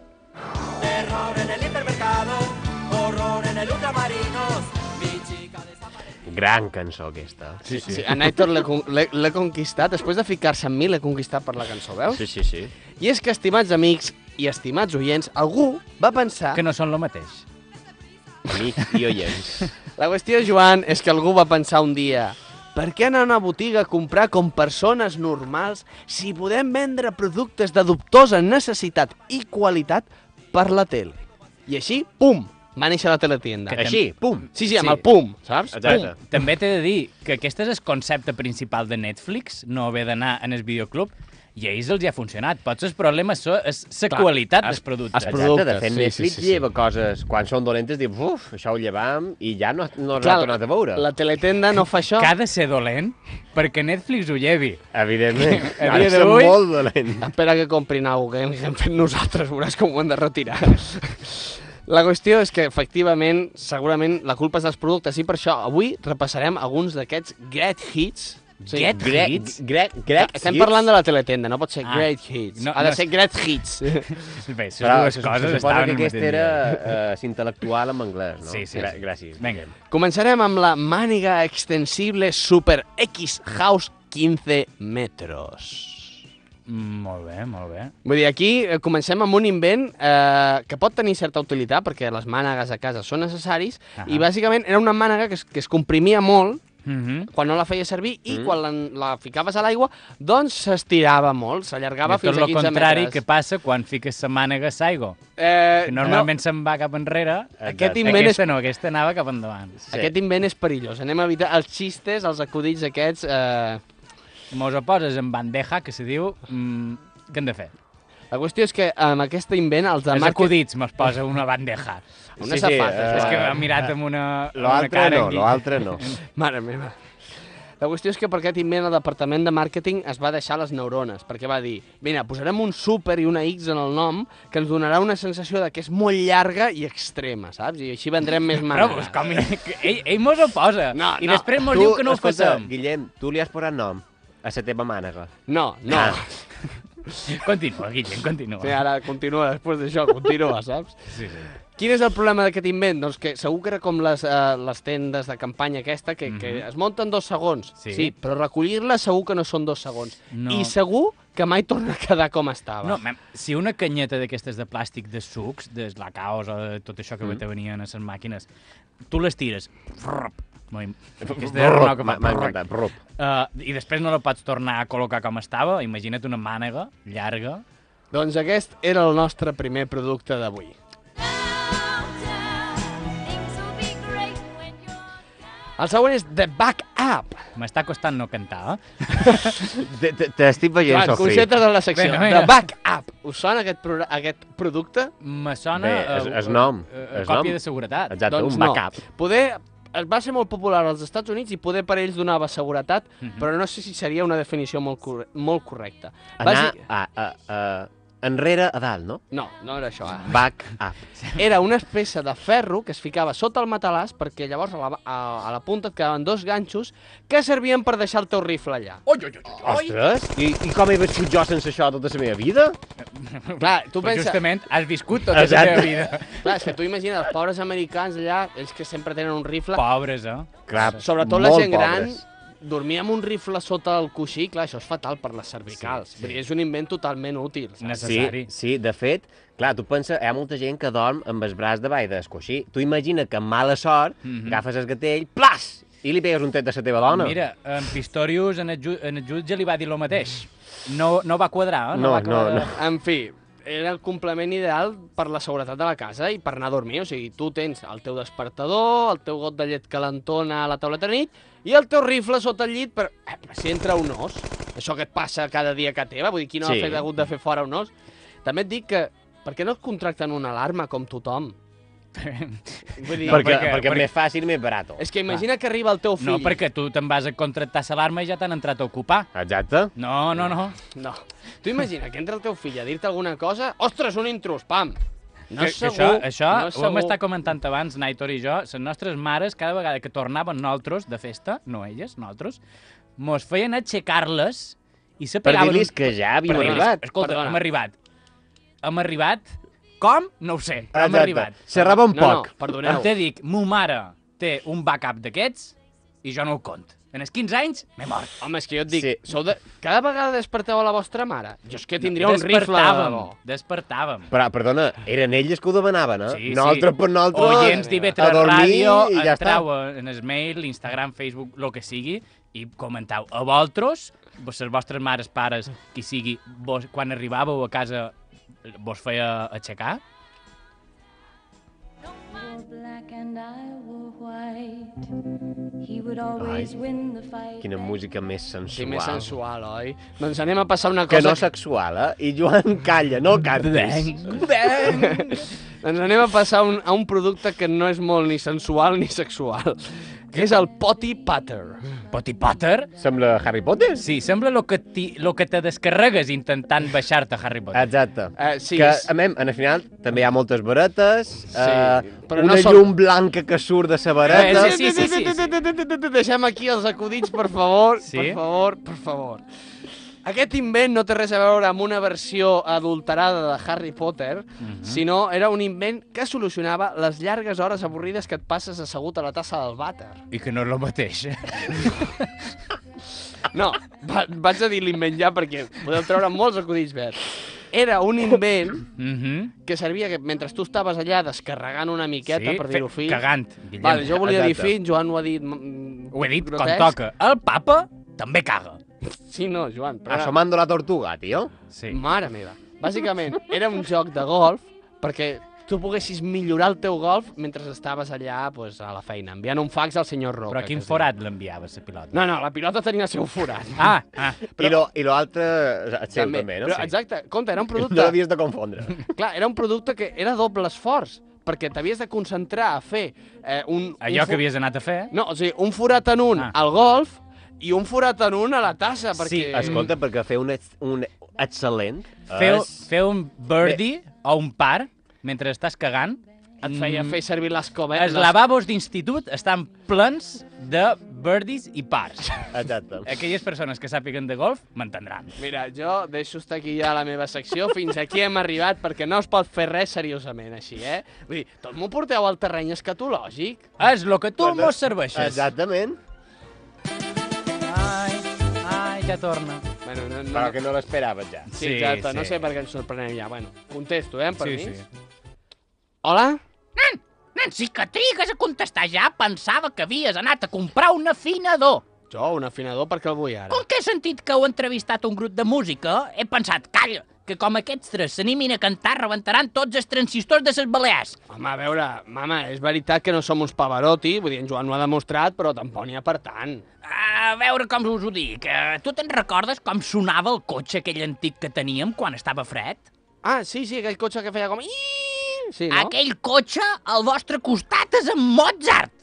C: Gran cançó aquesta.
D: Sí, sí. sí en Aitor l'he con- l'he l'he conquistat, després de ficar-se amb mi l'he conquistat per la cançó, veus?
C: Sí, sí, sí.
D: I és que, estimats amics i estimats oients, algú va pensar...
B: Que no són el mateix.
C: Amics i oients.
D: La qüestió, Joan, és que algú va pensar un dia per què anar a una botiga a comprar com persones normals si podem vendre productes de dubtosa necessitat i qualitat per la tele? I així, pum, va néixer la teletienda.
B: Que tam-
C: Així, pum.
D: Sí, sí, amb
B: sí.
D: el pum, saps?
C: Exacte.
D: Pum.
B: També t'he de dir que aquest és el concepte principal de Netflix, no haver d'anar en el videoclub, i a ells els hi ha funcionat. Potser el problema so- és la qualitat dels productes.
D: es produ-
C: Exacte, de
D: productes,
C: fet,
D: sí,
C: Netflix
D: sí, sí, sí.
C: lleva coses, quan són dolentes, diu, uf, això ho llevam i ja no, no ens
D: Clar,
C: l'ha tornat a veure.
D: La teletenda no fa això.
B: que ha de ser dolent perquè Netflix ho llevi.
C: Evidentment.
B: A
C: Ara
B: dia
C: són
B: d'avui-
C: molt dolent.
D: Espera que comprin alguna cosa que hem fet nosaltres, veuràs com ho hem de retirar. La qüestió és que, efectivament, segurament la culpa és dels productes i per això avui repassarem alguns d'aquests great hits.
B: Get
C: Greg,
B: hits?
C: Greg, Greg,
D: Estem parlant de la teletenda, no pot ser
B: Ah.
D: great hits.
B: No,
D: ha de
B: no
D: ser
B: és-
D: great hits.
B: Bé, les
C: Però,
B: dues
C: se-
B: coses
C: se suposa
B: estaven
C: que
B: al mateix
C: aquest era
B: nivell.
C: eh, intel·lectual en anglès, no?
B: Sí, sí,
C: Gra
B: sí.
C: Gràcies.
B: Vinga.
D: Començarem amb la màniga extensible Super X House 15 metros.
B: Mm, Molt bé, molt bé.
D: Vull dir, aquí eh, comencem amb un invent eh, que pot tenir certa utilitat, perquè les mànegues a casa són necessaris,
B: Ahà.
D: i bàsicament era una mànega que es, que es comprimia molt
B: Mhm.
D: quan no la feia servir i quan la, la ficaves a l'aigua, doncs s'estirava molt, s'allargava
B: I
D: fins
B: tot
D: a
B: el
D: 15
B: contrari
D: metres.
B: que passa quan fiques la mànega a saigo.
D: Eh,
B: Que normalment se'n va cap enrere.
D: Aquest invent és-
B: Aquesta no, aquesta anava cap endavant.
D: No, aquest invent és perillós. Anem a evitar els xistes, els acudits aquests... Eh,
B: Mos ho poses en bandeja, que se diu... Mm, què hem de fer?
D: la qüestió és que amb aquest invent els de
B: Els
D: marca...
B: acudits me'ls posa una bandeja.
D: Una
C: Sí, sí,
D: safata.
C: eh,
B: És que
D: Joan.
B: m'ha mirat amb una, amb una
C: L'altre
B: cara...
C: no,
B: en Gui-
C: l'altre no.
D: Mare meva. La qüestió és que per aquest invent el departament de màrqueting es va deixar les neurones, perquè va dir, vine, posarem un súper i una X en el nom que ens donarà una sensació de que és molt llarga i extrema, saps? I així vendrem més
B: Però, pues,
D: mànegues.
B: com, que ell, ell mos ho posa.
D: No,
B: I
D: no.
B: després mos diu que no ho facem.
C: Guillem, tu li has posat nom a la teva mànega.
D: No, no.
C: Ah.
B: Continua, Guillem, continua.
D: Sí, ara continua, després d'això, continua, saps?
B: Sí, sí.
D: Quin és el problema d'aquest invent? Doncs que segur que era com les, uh, les tendes de campanya aquesta, que, mm -hmm. que es munten dos segons.
B: Mhm. Sí.
D: sí però recollir-la segur que no són dos segons.
B: No.
D: I segur que mai torna a quedar com estava.
B: No, mem, si una canyeta d'aquestes de plàstic de sucs, de la caos o de tot això que mm. venien a les màquines, tu les tires. Frrrp, M'ho- aquesta de Renault que fa
C: M'ha m'ha encantat. Rup.
B: Uh, I després no la pots tornar a col·locar com estava. Imagina't una mànega llarga.
D: Doncs aquest era el nostre primer producte d'avui. El següent és The Back Up.
B: M'està costant no cantar, eh?
C: Te- te- T'estic veient
D: Joan,
C: sofrir.
D: concentra't en la secció.
B: Vinga, vinga.
D: The Back Up. Us sona aquest, pro- aquest producte?
B: Me sona...
C: Bé, és-
B: eh,
C: és nom,
B: eh,
C: és
B: còpia
C: nom.
B: de seguretat.
C: Exacte,
D: doncs
C: un
D: no.
C: backup.
D: Poder es va ser molt popular als Estats Units i poder per ells donava seguretat,
B: Mhm.
D: però no sé si seria una definició molt, cor molt correcta.
C: Anar
D: Bàsic-
C: a, a, a, enrere a dalt, no?
D: No, no era això. eh?
C: Back up.
D: Era una peça de ferro que es ficava sota el matalàs perquè llavors a la, a, a la punta et quedaven dos ganxos que servien per deixar el teu rifle allà.
B: Oi, oi, oi, oi.
C: Ostres, i, i com he viscut jo sense això tota la meva vida?
D: Clar, tu
B: Però
D: pensa...
B: justament has viscut tota la
C: Exacte.
B: teva vida.
D: Clar, és que tu imagina, els pobres americans allà, ells que sempre tenen un rifle,
B: Pobres, eh?
C: Clar,
D: sobretot la
C: molt
D: gent gran,
C: pobres.
D: dormir amb un rifle sota el coixí, clar, això és fatal per les cervicals. Sí, sí. És un invent totalment útil. saps?
B: Necessari.
C: Sí, sí, de fet, clar, tu pensa, hi ha molta gent que dorm amb el braç davall del coixí. Tu imagina que amb mala sort mm
B: Mhm.
C: -hmm. agafes el gatell, plas, i li pegues un tret de la teva dona.
B: Mira, en Pistorius, en el, ju en el jutge, li va dir el mateix. No, no va quadrar, eh?
C: No,
B: va
C: no,
B: acabar
C: no.
B: de-
D: En fi, eh, era el complement ideal per la seguretat de la casa i per anar a dormir. O sigui, tu tens el teu despertador, el teu got de llet calentona a la tauleta de nit i el teu rifle sota el llit per... Eh, per si entra un os. Això que et passa cada dia que teva, vull dir, qui no
C: Sí.
D: sí. ha fet, hagut de fer fora un os? També et dic que per què no et contracten una alarma com tothom? Vull
C: perquè, perquè,
D: dir,
C: perquè,
B: perquè-
C: perquè, més fàcil i més barat.
D: és que imagina que arriba el teu fill...
B: No, perquè tu te'n vas a contractar l'alarma i ja t'han entrat a ocupar.
C: Exacte.
B: No, no, no.
D: No. Tu imagina que entra el teu fill a dir-te alguna cosa... Ostres, un intrus, pam! No
B: Que-
D: és
B: que
D: segur,
B: això, això
D: no és
B: ho hem
D: segur.
B: estat comentant abans, Naitor i jo, les nostres mares, cada vegada que tornaven nosaltres de festa, no elles, nosaltres, mos feien aixecar-les i se
C: Per
B: pegaven...
C: dir-los
B: un-
C: que ja havíem
B: per dir-los,
C: arribat.
B: Escolta,
D: Perdona.
B: hem arribat. Hem arribat. Com? No ho sé, però hem arribat.
C: Xerrava un
D: No, no,
C: poc.
D: perdoneu.
B: Te dic, mo mare té un backup d'aquests i jo no ho cont. En els 15 anys m'he mort.
D: Home, és que jo et dic,
C: Sí.
D: sí. sou de... cada vegada desperteu a la vostra mare? Jo és que tindria un rifle de
B: despertàvem,
D: debò.
B: despertàvem.
C: Però, perdona, eren elles que ho demanaven, eh?
B: Sí, sí.
C: nosaltres per nosaltres,
B: Oients d'IV3
C: a dormir
B: Ràdio,
C: i ja
B: entreu en el mail, l'Instagram, Facebook, lo que sigui, i comentau a vosaltres, vos- les vostres mares, pares, qui sigui, vos, quan arribàveu a casa vos feia aixecar?
C: està. Quina música més sensual.
D: Sí, més sensual, oi? Doncs anem a passar una
C: Que
D: cosa...
C: no sexual, eh? I Joan calla, no cantis.
D: doncs anem a passar un, a un producte que no és molt ni sensual ni sexual, que és el Potty Patter.
B: Potty Potter?
C: Sembla Harry Potter?
B: Sí, sembla lo que, ti, lo que te descarregues intentant baixar-te Harry Potter.
C: Exacte.
D: Eh, sí,
C: que,
D: és-
C: a mem, en el final també hi ha moltes varetes, sí, eh,
D: però
C: una
D: no són-
C: llum blanca que surt de la vareta...
B: Eh, sí, sí, sí, sí, sí.
D: Deixem aquí els acudits, per favor,
B: Sí?
D: sí? per favor, per favor. Aquest invent no té res a veure amb una versió adulterada de Harry Potter,
C: Mhm.
D: sinó era un invent que solucionava les llargues hores avorrides que et passes assegut a la tassa del vàter.
B: I que no és el mateix.
D: No, va, vaig a dir l'invent ja perquè podeu treure molts acudits verds. Era un invent
B: Mm -hmm.
D: que servia que mentre tu estaves allà descarregant una miqueta, per dir-ho fi...
B: Cagant, Guillem.
D: Vale, jo volia dir
C: Exacte.
D: fi, Joan ho ha dit... mm,
B: Ho he dit quan
D: grotesc.
B: toca. El papa també caga.
D: Sí, no, Joan, però... era-
C: Asomando la tortuga, tio.
B: Sí.
D: Mare meva. Bàsicament, era un joc de golf perquè tu poguessis millorar el teu golf mentre estaves allà pues, a la feina, enviant un fax al senyor Roca.
B: Però a quin
D: que es
B: forat l'enviava, la pilota?
D: diu. No, no, la pilota tenia el seu forat.
B: Ah, ah.
C: Però... I lo- I l'altre, el seu també, no?
D: Però, exacte, compte, era un
C: No
D: producte...
C: l'havies de confondre.
D: Clar, era un producte que era doble esforç, perquè t'havies de concentrar a fer eh, un...
B: Allò
D: un
B: que havies anat a fer.
D: No, o sigui, un forat en un
B: Ah.
D: al golf i un forat en un a la tassa, perquè... Mm.
B: Sí,
C: Escolta, perquè fer un, ex- un excel·lent
B: Fer,
C: és...
B: fer un birdie o un par mentre estàs cagant.
D: Et feia
B: mm,
D: fer servir les cometes.
B: Els lavabos d'institut estan plens de birdies i pars.
C: Exacte.
B: Aquelles persones que sàpiguen de golf m'entendran.
D: Mira, jo deixo estar aquí ja la meva secció. Fins aquí hem arribat perquè no es pot fer res seriosament així, eh? Vull dir, tot m'ho porteu al terreny escatològic.
B: És lo que tu mos serveixes.
C: Exactament.
B: Ai, ai, ja torna.
D: Bueno, no, no...
C: Però que no l'esperaves ja.
D: Sí,
B: Sí,
D: exacte, no
B: sí.
D: sé per què ens sorprenem ja. Bueno, contesto, eh, amb
B: Sí,
D: permís.
B: sí.
D: Hola?
B: Nen, sí que trigues a contestar ja. Pensava que havies anat a comprar un afinador.
D: Jo, un afinador, per què el vull ara?
B: Com que he sentit que heu entrevistat un grup de música, he pensat, calla, que com aquests tres s'animin a cantar, rebentaran tots els transistors de ses balears.
D: Home, a veure, mama, és veritat que no som uns Pavarotti, vull dir, en Joan ho ha demostrat, però tampoc n'hi ha per tant.
B: A veure com us ho dic. eh, Tu te'n recordes com sonava el cotxe aquell antic que teníem quan estava fred?
D: Ah, sí, sí, aquell cotxe que feia com... Iiii! Sí, no?
B: Aquell cotxe al vostre costat és en Mozart.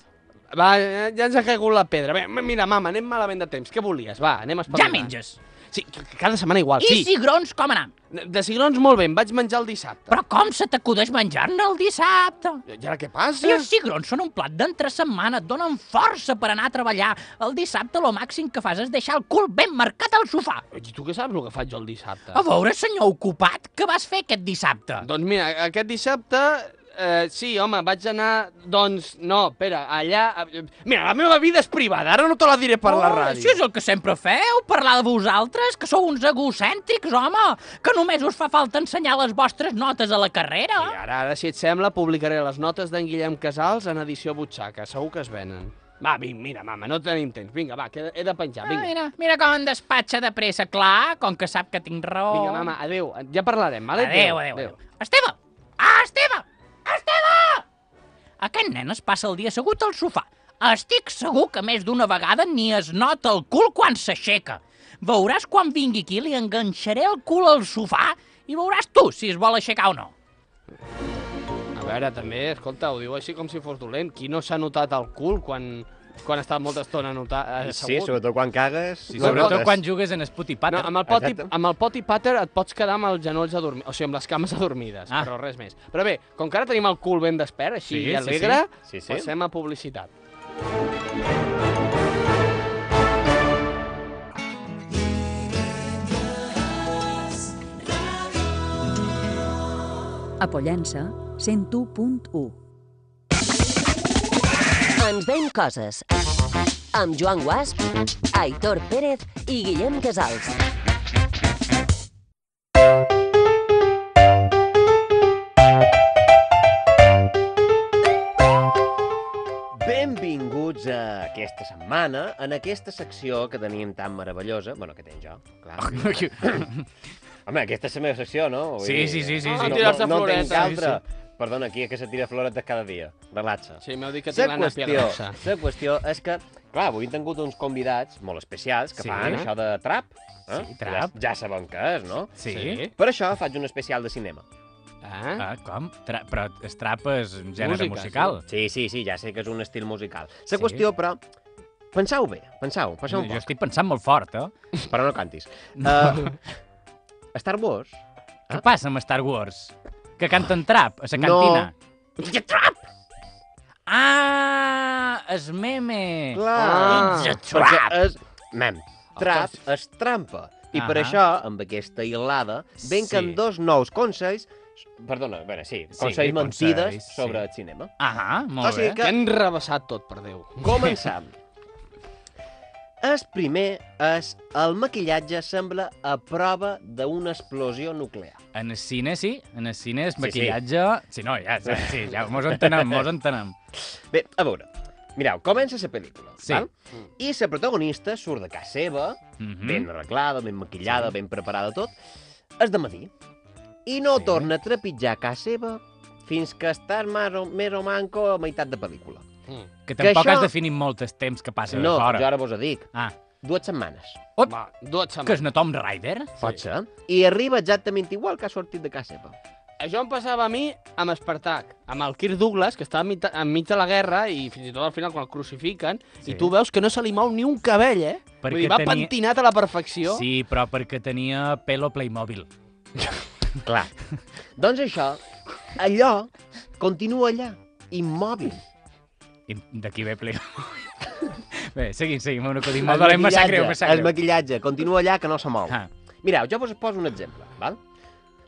D: Va, eh, ja ens ha caigut la pedra. Bé, m- mira, mama, anem malament de temps. Què volies? Va, anem a
B: Ja
D: espavilant.
B: menges.
D: Sí, c- cada setmana igual,
B: I
D: sí.
B: cigrons com anar?
D: De cigrons molt ben, vaig menjar el dissabte.
B: Però com se t'acudeix menjar-ne el dissabte?
D: I ara què passa?
B: I els cigrons són un plat d'entre setmana, et donen força per anar a treballar. El dissabte lo màxim que fas és deixar el cul ben marcat al sofà.
D: I tu què saps el que faig jo el dissabte?
B: A veure, senyor ocupat, què vas fer aquest dissabte?
D: Doncs mira, aquest dissabte... Eh, sí, home, vaig anar... Doncs no, espera, allà... eh, Mira, la meva vida és privada, ara no te la diré per la
B: Oh,
D: ràdio.
B: Això és el que sempre feu, parlar de vosaltres, que sou uns egocèntrics, home, que només us fa falta ensenyar les vostres notes a la carrera.
D: I ara, ara, si et sembla, publicaré les notes d'en Guillem Casals en edició butxaca. Segur que es venen. Va, vinga, mira, mama, no tenim temps. Vinga, va, que he de
B: Ah,
D: penjar, vinga.
B: mira, mira com em despatxa de pressa, clar, com que sap que tinc raó.
D: Vinga, mama, adéu. Ja parlarem, vale?
B: Adéu, adéu, adéu. Esteve! Ah, Esteve! Esteve! Aquest nen es passa el dia assegut al sofà. Estic segur que més d'una vegada ni es nota el cul quan s'aixeca. Veuràs quan vingui aquí, li enganxaré el cul al sofà i veuràs tu si es vol aixecar o no.
D: A veure, també, escolta, ho diu així com si fos dolent. Qui no s'ha notat el cul quan, quan ha estat molta estona notat, eh,
C: Sí,
D: assegut?
C: sobretot quan cagues. Sí,
B: Sobretot quan jugues en Sputty
D: No,
B: Patter.
D: amb el, poti,
C: Exacte.
D: amb el poti pater et pots quedar amb els genolls adormits, o sigui, amb les cames adormides,
B: Ah.
D: ah. però res més. Però bé, com que ara tenim el cul ben despert, així
B: Sí,
D: sí,
B: sí,
D: alegre,
C: sí. Sí, sí.
D: passem a publicitat.
K: A Pollença, 101.1.
A: Ens veiem coses. Amb Joan Guasp, Aitor Pérez i Guillem Casals.
C: Benvinguts a aquesta setmana, en aquesta secció que tenim tan meravellosa, bueno, que tens jo, clar. Home, aquesta és la meva secció, no? Vull
B: Sí,
C: dir,
B: sí, sí, sí,
C: No,
B: sí.
C: no,
D: Tirar-se
C: no en
D: floretes.
C: tens altra. Perdona, aquí que se tira floretes cada dia. Relaxa.
D: Sí, m'heu dit que té
C: La
D: la nàpia
C: qüestió,
D: grossa.
C: la qüestió és que, clar, avui hem tingut uns convidats molt especials que sí.
B: Sí.
C: fan això de trap. Eh?
B: Sí, trap.
C: Ja, ja sabem què és, no?
B: Sí.
C: Per això faig un especial de cinema.
D: Ah?
B: Ah, com? Tra però es trapa és un gènere
D: Música,
B: musical.
C: Sí, sí, sí, ja sé que és un estil musical. La
B: Sí.
C: sí. qüestió, però, pensau bé, pensau, penseu un
B: Jo
C: poc,
B: estic pensant molt fort, eh?
C: però no cantis. Uh, Star Wars... eh?
B: Què passa amb Star Wars? Que canten trap a la cantina?
C: No. Trap!
B: Ah, es meme.
C: Clar!
D: Ah.
B: It's a
C: Perquè
B: trap.
C: és... Mem, trap és trampa. I per
B: Ahà.
C: això, amb aquesta hilada, venquen
B: Sí.
C: dos nous consells... Perdona, a veure, sí, consells
B: consells,
C: mentides
B: sí.
C: sobre el cinema.
B: Ahà, molt
C: O sigui
B: bé.
C: que-
D: Que han rebassat tot, per Déu.
C: Començam. El primer és el maquillatge sembla a prova d'una explosió nuclear.
B: En el cine, sí. En el cine és
C: Sí,
B: maquillatge... Sí, no, ja, ja, Ah, sí, ja mos entenem, mos entenem.
C: Bé, a veure, mireu, comença la pel·lícula,
B: Sí.
D: Ah.
C: val? i la protagonista surt de casa seva,
B: Mhm.
C: ben arreglada, ben maquillada, ben preparada tot, és de matí, i no
B: Sí.
C: torna a trepitjar casa seva fins que està més o, més o manco a meitat de pel·lícula.
D: Mm.
B: Que tampoc
C: això-
B: has definit molt els temps que passa
C: no,
B: de fora.
C: jo ara vos ho dic,
B: Ah,
C: dues setmanes,
B: op,
D: Va, dues
B: que
D: setmanes.
B: és una Tomb Raider?
C: pot ser, i arriba exactament igual que ha sortit de casa seva.
D: això em passava a mi amb Espartac, amb el Kirk Douglas, que estava enmig, enmig de la guerra i fins i tot al final quan el crucifiquen, sí. i tu veus que no se li mou ni un cabell, eh?
B: Perquè
D: Vull dir, va
B: tenia-
D: pentinat a la perfecció.
B: Sí, però perquè tenia pelo Playmobil.
C: Clar. doncs això, allò, continua allà, immòbil.
B: I D'aquí ve Playmobil. Bé, seguim, seguim. Un acudit molt dolent, me sap greu, me sap
C: el
B: greu.
C: maquillatge, continua allà que no se mou.
B: Ah.
C: Mireu, jo vos poso un exemple, val?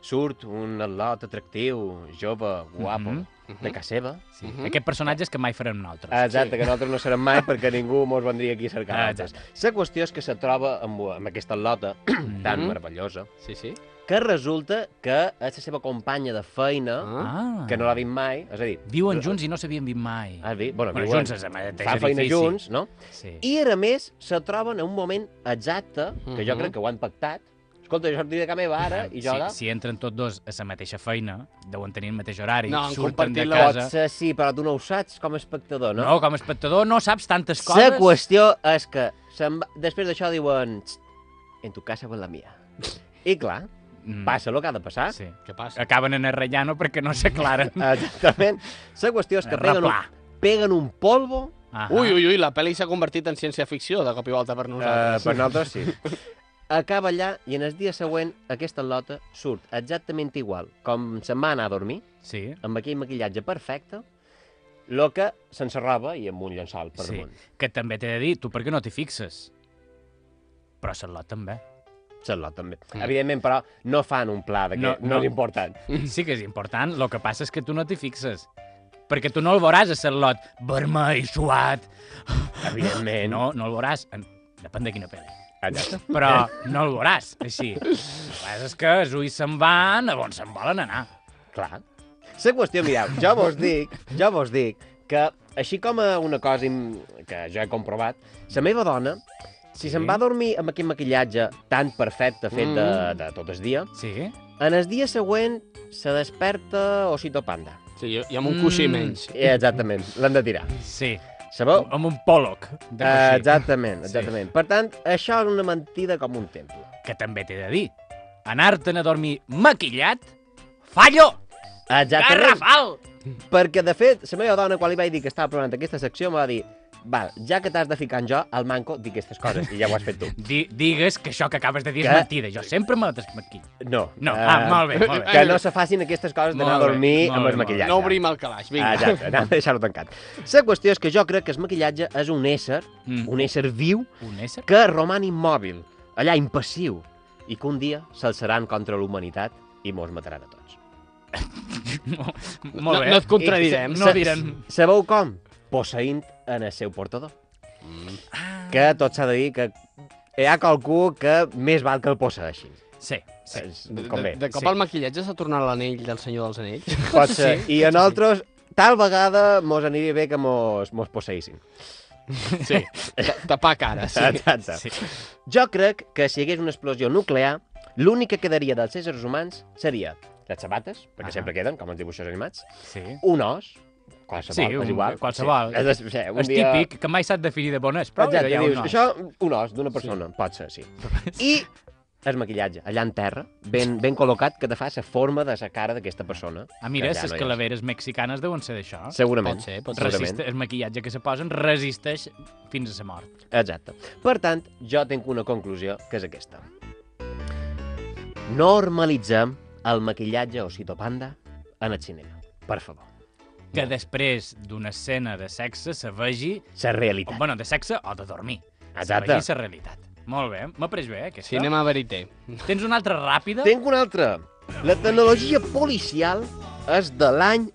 C: Surt un atlot atractiu, jove, guapo, mm -hmm. de casa seva.
B: Mhm. Sí. Aquest personatge és que mai farem nosaltres.
C: Mhm. Ah, Exacte, sí. que nosaltres no serem mai perquè ningú mos vendria aquí a cercar
B: Ah,
C: nosaltres. La qüestió és que se troba amb, amb aquesta atlota tan eh?
D: Mhm.
C: meravellosa
D: sí, sí.
C: que resulta que és la seva companya de feina,
B: Ah.
C: que no l'ha vist mai, és a dir...
B: Viuen junts i no s'havien vist mai.
C: Has vist? Ah, Bueno,
B: Bueno,
C: viuen-
B: junts és el mateix
C: Fan feina
B: edifici.
C: junts, no?
B: Sí.
C: I, a més, se troben en un moment exacte, que jo
D: Mhm.
C: crec que ho han pactat. Escolta, jo sortiré de casa meva ara i jo ara...
B: Ah, si, si entren tots dos a la mateixa feina, deuen tenir el mateix horari,
D: No, han
B: surten de
D: compartit la
B: casa...
C: Pot ser, sí, però tu no ho saps com a espectador, no?
B: No, com a espectador no saps tantes
C: La
B: coses.
C: qüestió és que se'n va... després d'això diuen "Txt, en tu casa va la mia. I clar,
B: Mm,
C: passa el que ha de passar.
B: Sí.
D: Què passa?
B: Acaben en Arrellano perquè no s'aclaren.
C: Exactament. La qüestió és que peguen un,
B: Replà.
C: peguen un polvo,
B: Ah,
D: Ui, ui, ui, la pel·li s'ha convertit en ciència-ficció de cop i volta per
C: eh,
D: nosaltres.
C: per nosaltres sí. Acaba allà i en el dia següent aquesta lota surt exactament igual com se'n va anar a dormir,
B: Sí.
C: amb aquell maquillatge perfecte, lo que sense roba i amb un llençol per
B: Sí.
C: damunt.
B: Que també t'he de dir, tu per què no t'hi fixes? Però Charlotte també.
C: Sembla, també. Evidentment, però no fan un pla de que
B: No,
C: no,
B: no.
C: és important.
B: Sí que és important, el que passa és que tu no t'hi fixes. Perquè tu no el veuràs a Charlotte vermell, suat...
C: Evidentment.
B: No, no el veuràs. En- Depèn de quina pel·li.
C: Allà.
B: Però no el veuràs, així. El que passa és que els ulls se'n van a on se'n volen anar.
C: Clar. La qüestió, mireu, jo vos dic, jo vos dic que, així com a una cosa im- que jo he comprovat, la meva dona, si
B: Sí.
C: se'n va a dormir amb aquell maquillatge tan perfecte fet de, de tot el dia,
B: Mm. Sí?
C: en el dia següent se desperta Osito Panda.
D: Sí, i- i amb un coixí
B: Mm.
D: menys.
C: Eh, Exactament, l'han de tirar.
B: Sí.
C: Sabeu?
B: Amb un pòloc. de
C: Eh,
B: coixí.
C: Exactament,
B: Sí.
C: exactament. Per tant, això és una mentida com un temple.
B: Que també t'he de dir. Anar-te'n a dormir maquillat, fallo!
C: Exactament.
B: Garrafal!
C: Perquè, de fet, la meva dona, quan li vaig dir que estava programant aquesta secció, em va dir Val, ja que t'has de ficar en jo, al manco, dic aquestes coses, i ja ho has fet tu.
B: Di digues que això que acabes de dir és
C: Que-
B: mentida. Jo sempre me desmaquillo.
C: No.
B: No, ah, molt bé, molt bé.
C: Que no se facin aquestes coses d'anar a
B: Molt bé,
C: dormir
B: molt
C: amb
B: bé,
C: el
B: molt bé.
C: maquillatge.
D: No obrim el calaix, vinga.
C: Ah, Exacte, anem a deixar-ho tancat. La qüestió és que jo crec que el maquillatge és un ésser,
B: Mm.
C: un ésser viu,
B: Un ésser?
C: que roman immòbil, allà impassiu, i que un dia s'alçaran contra la humanitat i mos mataran a tots.
B: No, molt
D: No-
B: bé.
D: no et contradirem.
B: No diran...
C: Sabeu com? Posseint en el seu portador.
B: Mm.
C: Que tot s'ha de dir que hi ha qualcú que més val que el posseeixin.
B: Sí, sí.
C: És
D: De,
C: Com
D: de,
C: bé.
D: de cop
B: sí.
D: el maquillatge s'ha tornat l'anell del Senyor dels Anells.
C: Pot ser. I a nosaltres, tal vegada, mos aniria bé que mos, mos posseïssin.
D: Sí, ta- tapar cara, sí.
C: Exacte.
B: sí.
C: Jo crec que si hi hagués una explosió nuclear, l'únic que quedaria dels éssers humans seria les sabates, perquè
B: Ah.
C: sempre queden, com els dibuixos animats,
B: sí.
C: un os, qualsevol,
B: Sí, un-
C: és igual.
B: qualsevol.
C: Sí. És, és,
B: Un
C: un
B: és
C: dia...
B: típic, que mai s'ha de definir de bon és, però
C: Exacte,
B: ja hi ha
C: dius,
B: un os.
C: això, un os d'una persona, sí. pot ser, sí. I el maquillatge, allà en terra, ben, ben col·locat, que te fa la forma de la cara d'aquesta persona.
B: Ah, mira,
C: ja
B: les
C: no hi és.
B: calaveres mexicanes deuen ser d'això.
C: Segurament.
D: Pot ser, pot ser.
C: segurament.
B: Resiste, el maquillatge que se posen resisteix fins a la mort.
C: Exacte. Per tant, jo tinc una conclusió, que és aquesta. Normalitzem el maquillatge o citopanda en el cinema. Per favor.
B: Que després d'una escena de sexe se vegi...
C: La
B: O,
C: realitat.
B: bueno, de sexe o de dormir.
C: Exacte.
B: Se vegi la realitat. Molt bé, m'ha pres bé, eh, aquesta.
D: Cinema verité.
B: Tens una altra ràpida?
C: Tinc una altra. La tecnologia policial és de l'any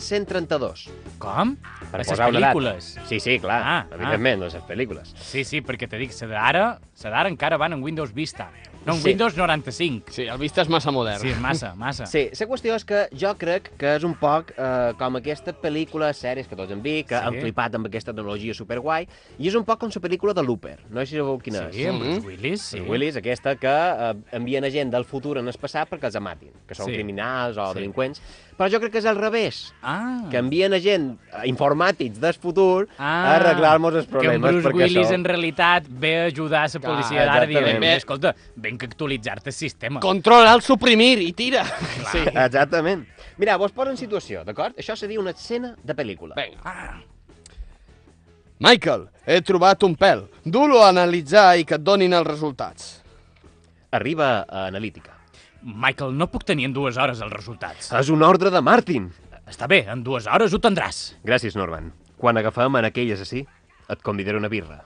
C: 2132.
B: Com?
C: Per
B: a les
C: posar una data.
B: pel·lícules.
C: Sí, sí, clar, ah,
B: Ah,
C: evidentment, ah. les pel·lícules.
B: Sí, sí, perquè te dic, la d'ara, la d'ara encara van en Windows Vista. No, en
C: Sí.
B: Windows 95.
D: Sí, el vista és massa modern.
B: Sí, és massa, massa.
C: Sí, la qüestió és que jo crec que és un poc eh, com aquesta pel·lícula, sèries que tots hem vist, que
B: Sí.
C: sí. han flipat amb aquesta tecnologia superguai, i és un poc com la pel·lícula de Looper. No sé si sabeu quina
B: sí,
C: és.
B: amb els Willis, sí.
C: Sí. Willis, aquesta que eh, envien a gent del futur en el passat perquè els matin, que són
B: Sí.
C: sí. criminals o
B: Sí.
C: sí. delinqüents. Però jo crec que és al revés,
B: Ah,
C: que envien a gent eh, informàtics del futur
B: ah,
C: a arreglar-nos els
B: que en
C: problemes.
B: Bruce
C: perquè
B: Willis
C: això...
B: en realitat ve a ajudar a la policia
C: Ah,
B: d'ara dient,
C: exactament.
B: escolta, ve tenen que actualitzar-te el sistema.
D: Control al suprimir i tira. Sí.
C: Exactament. Mira, vos poso en situació, d'acord? Això seria una escena de pel·lícula. Ah.
D: Vinga. Michael, he trobat un pèl. Du-lo a analitzar i que et donin els resultats.
C: Arriba a Analítica.
B: Michael, no puc tenir en dues hores els resultats.
C: Ah, És un ordre de Martin.
B: Està bé, en dues hores ho tindràs.
C: Gràcies, Norman. Quan agafem en aquell assassí, et convidaré una birra.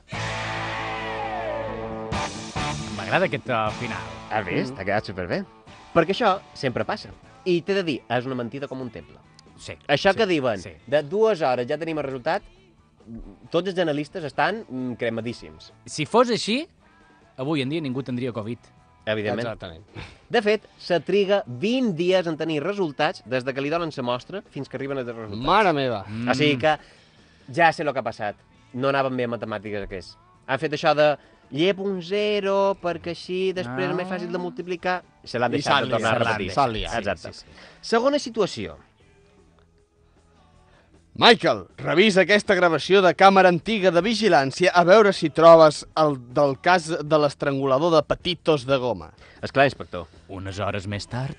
B: M'agrada aquest uh, final. Mm.
C: Has vist? T'ha quedat superbé. Perquè això sempre passa. I t'he de dir, és una mentida com un temple.
B: Sí.
C: Això
B: sí,
C: que diuen,
B: Sí.
C: de dues hores ja tenim el resultat, tots els analistes estan mm, cremadíssims.
B: Si fos així, avui en dia ningú tindria Covid.
C: Evidentment.
D: Exactament.
C: De fet, se triga 20 dies en tenir resultats des de que li donen la mostra fins que arriben els resultats.
D: Mare meva.
C: Mm. O sigui que ja sé el que ha passat. No anaven bé a matemàtiques aquests. Han fet això de llep un zero perquè així després ah. és més fàcil de multiplicar. Se l'han
D: I
C: deixat
D: s'han
C: de tornar a
D: liat, s'han
C: repetir.
D: liat, s'han liat.
C: Exacte. Sí, sí, sí. Segona situació.
D: Michael, revisa aquesta gravació de càmera antiga de vigilància a veure si trobes el del cas de l'estrangulador de petitos de goma.
C: Esclar, inspector.
B: Unes hores més tard...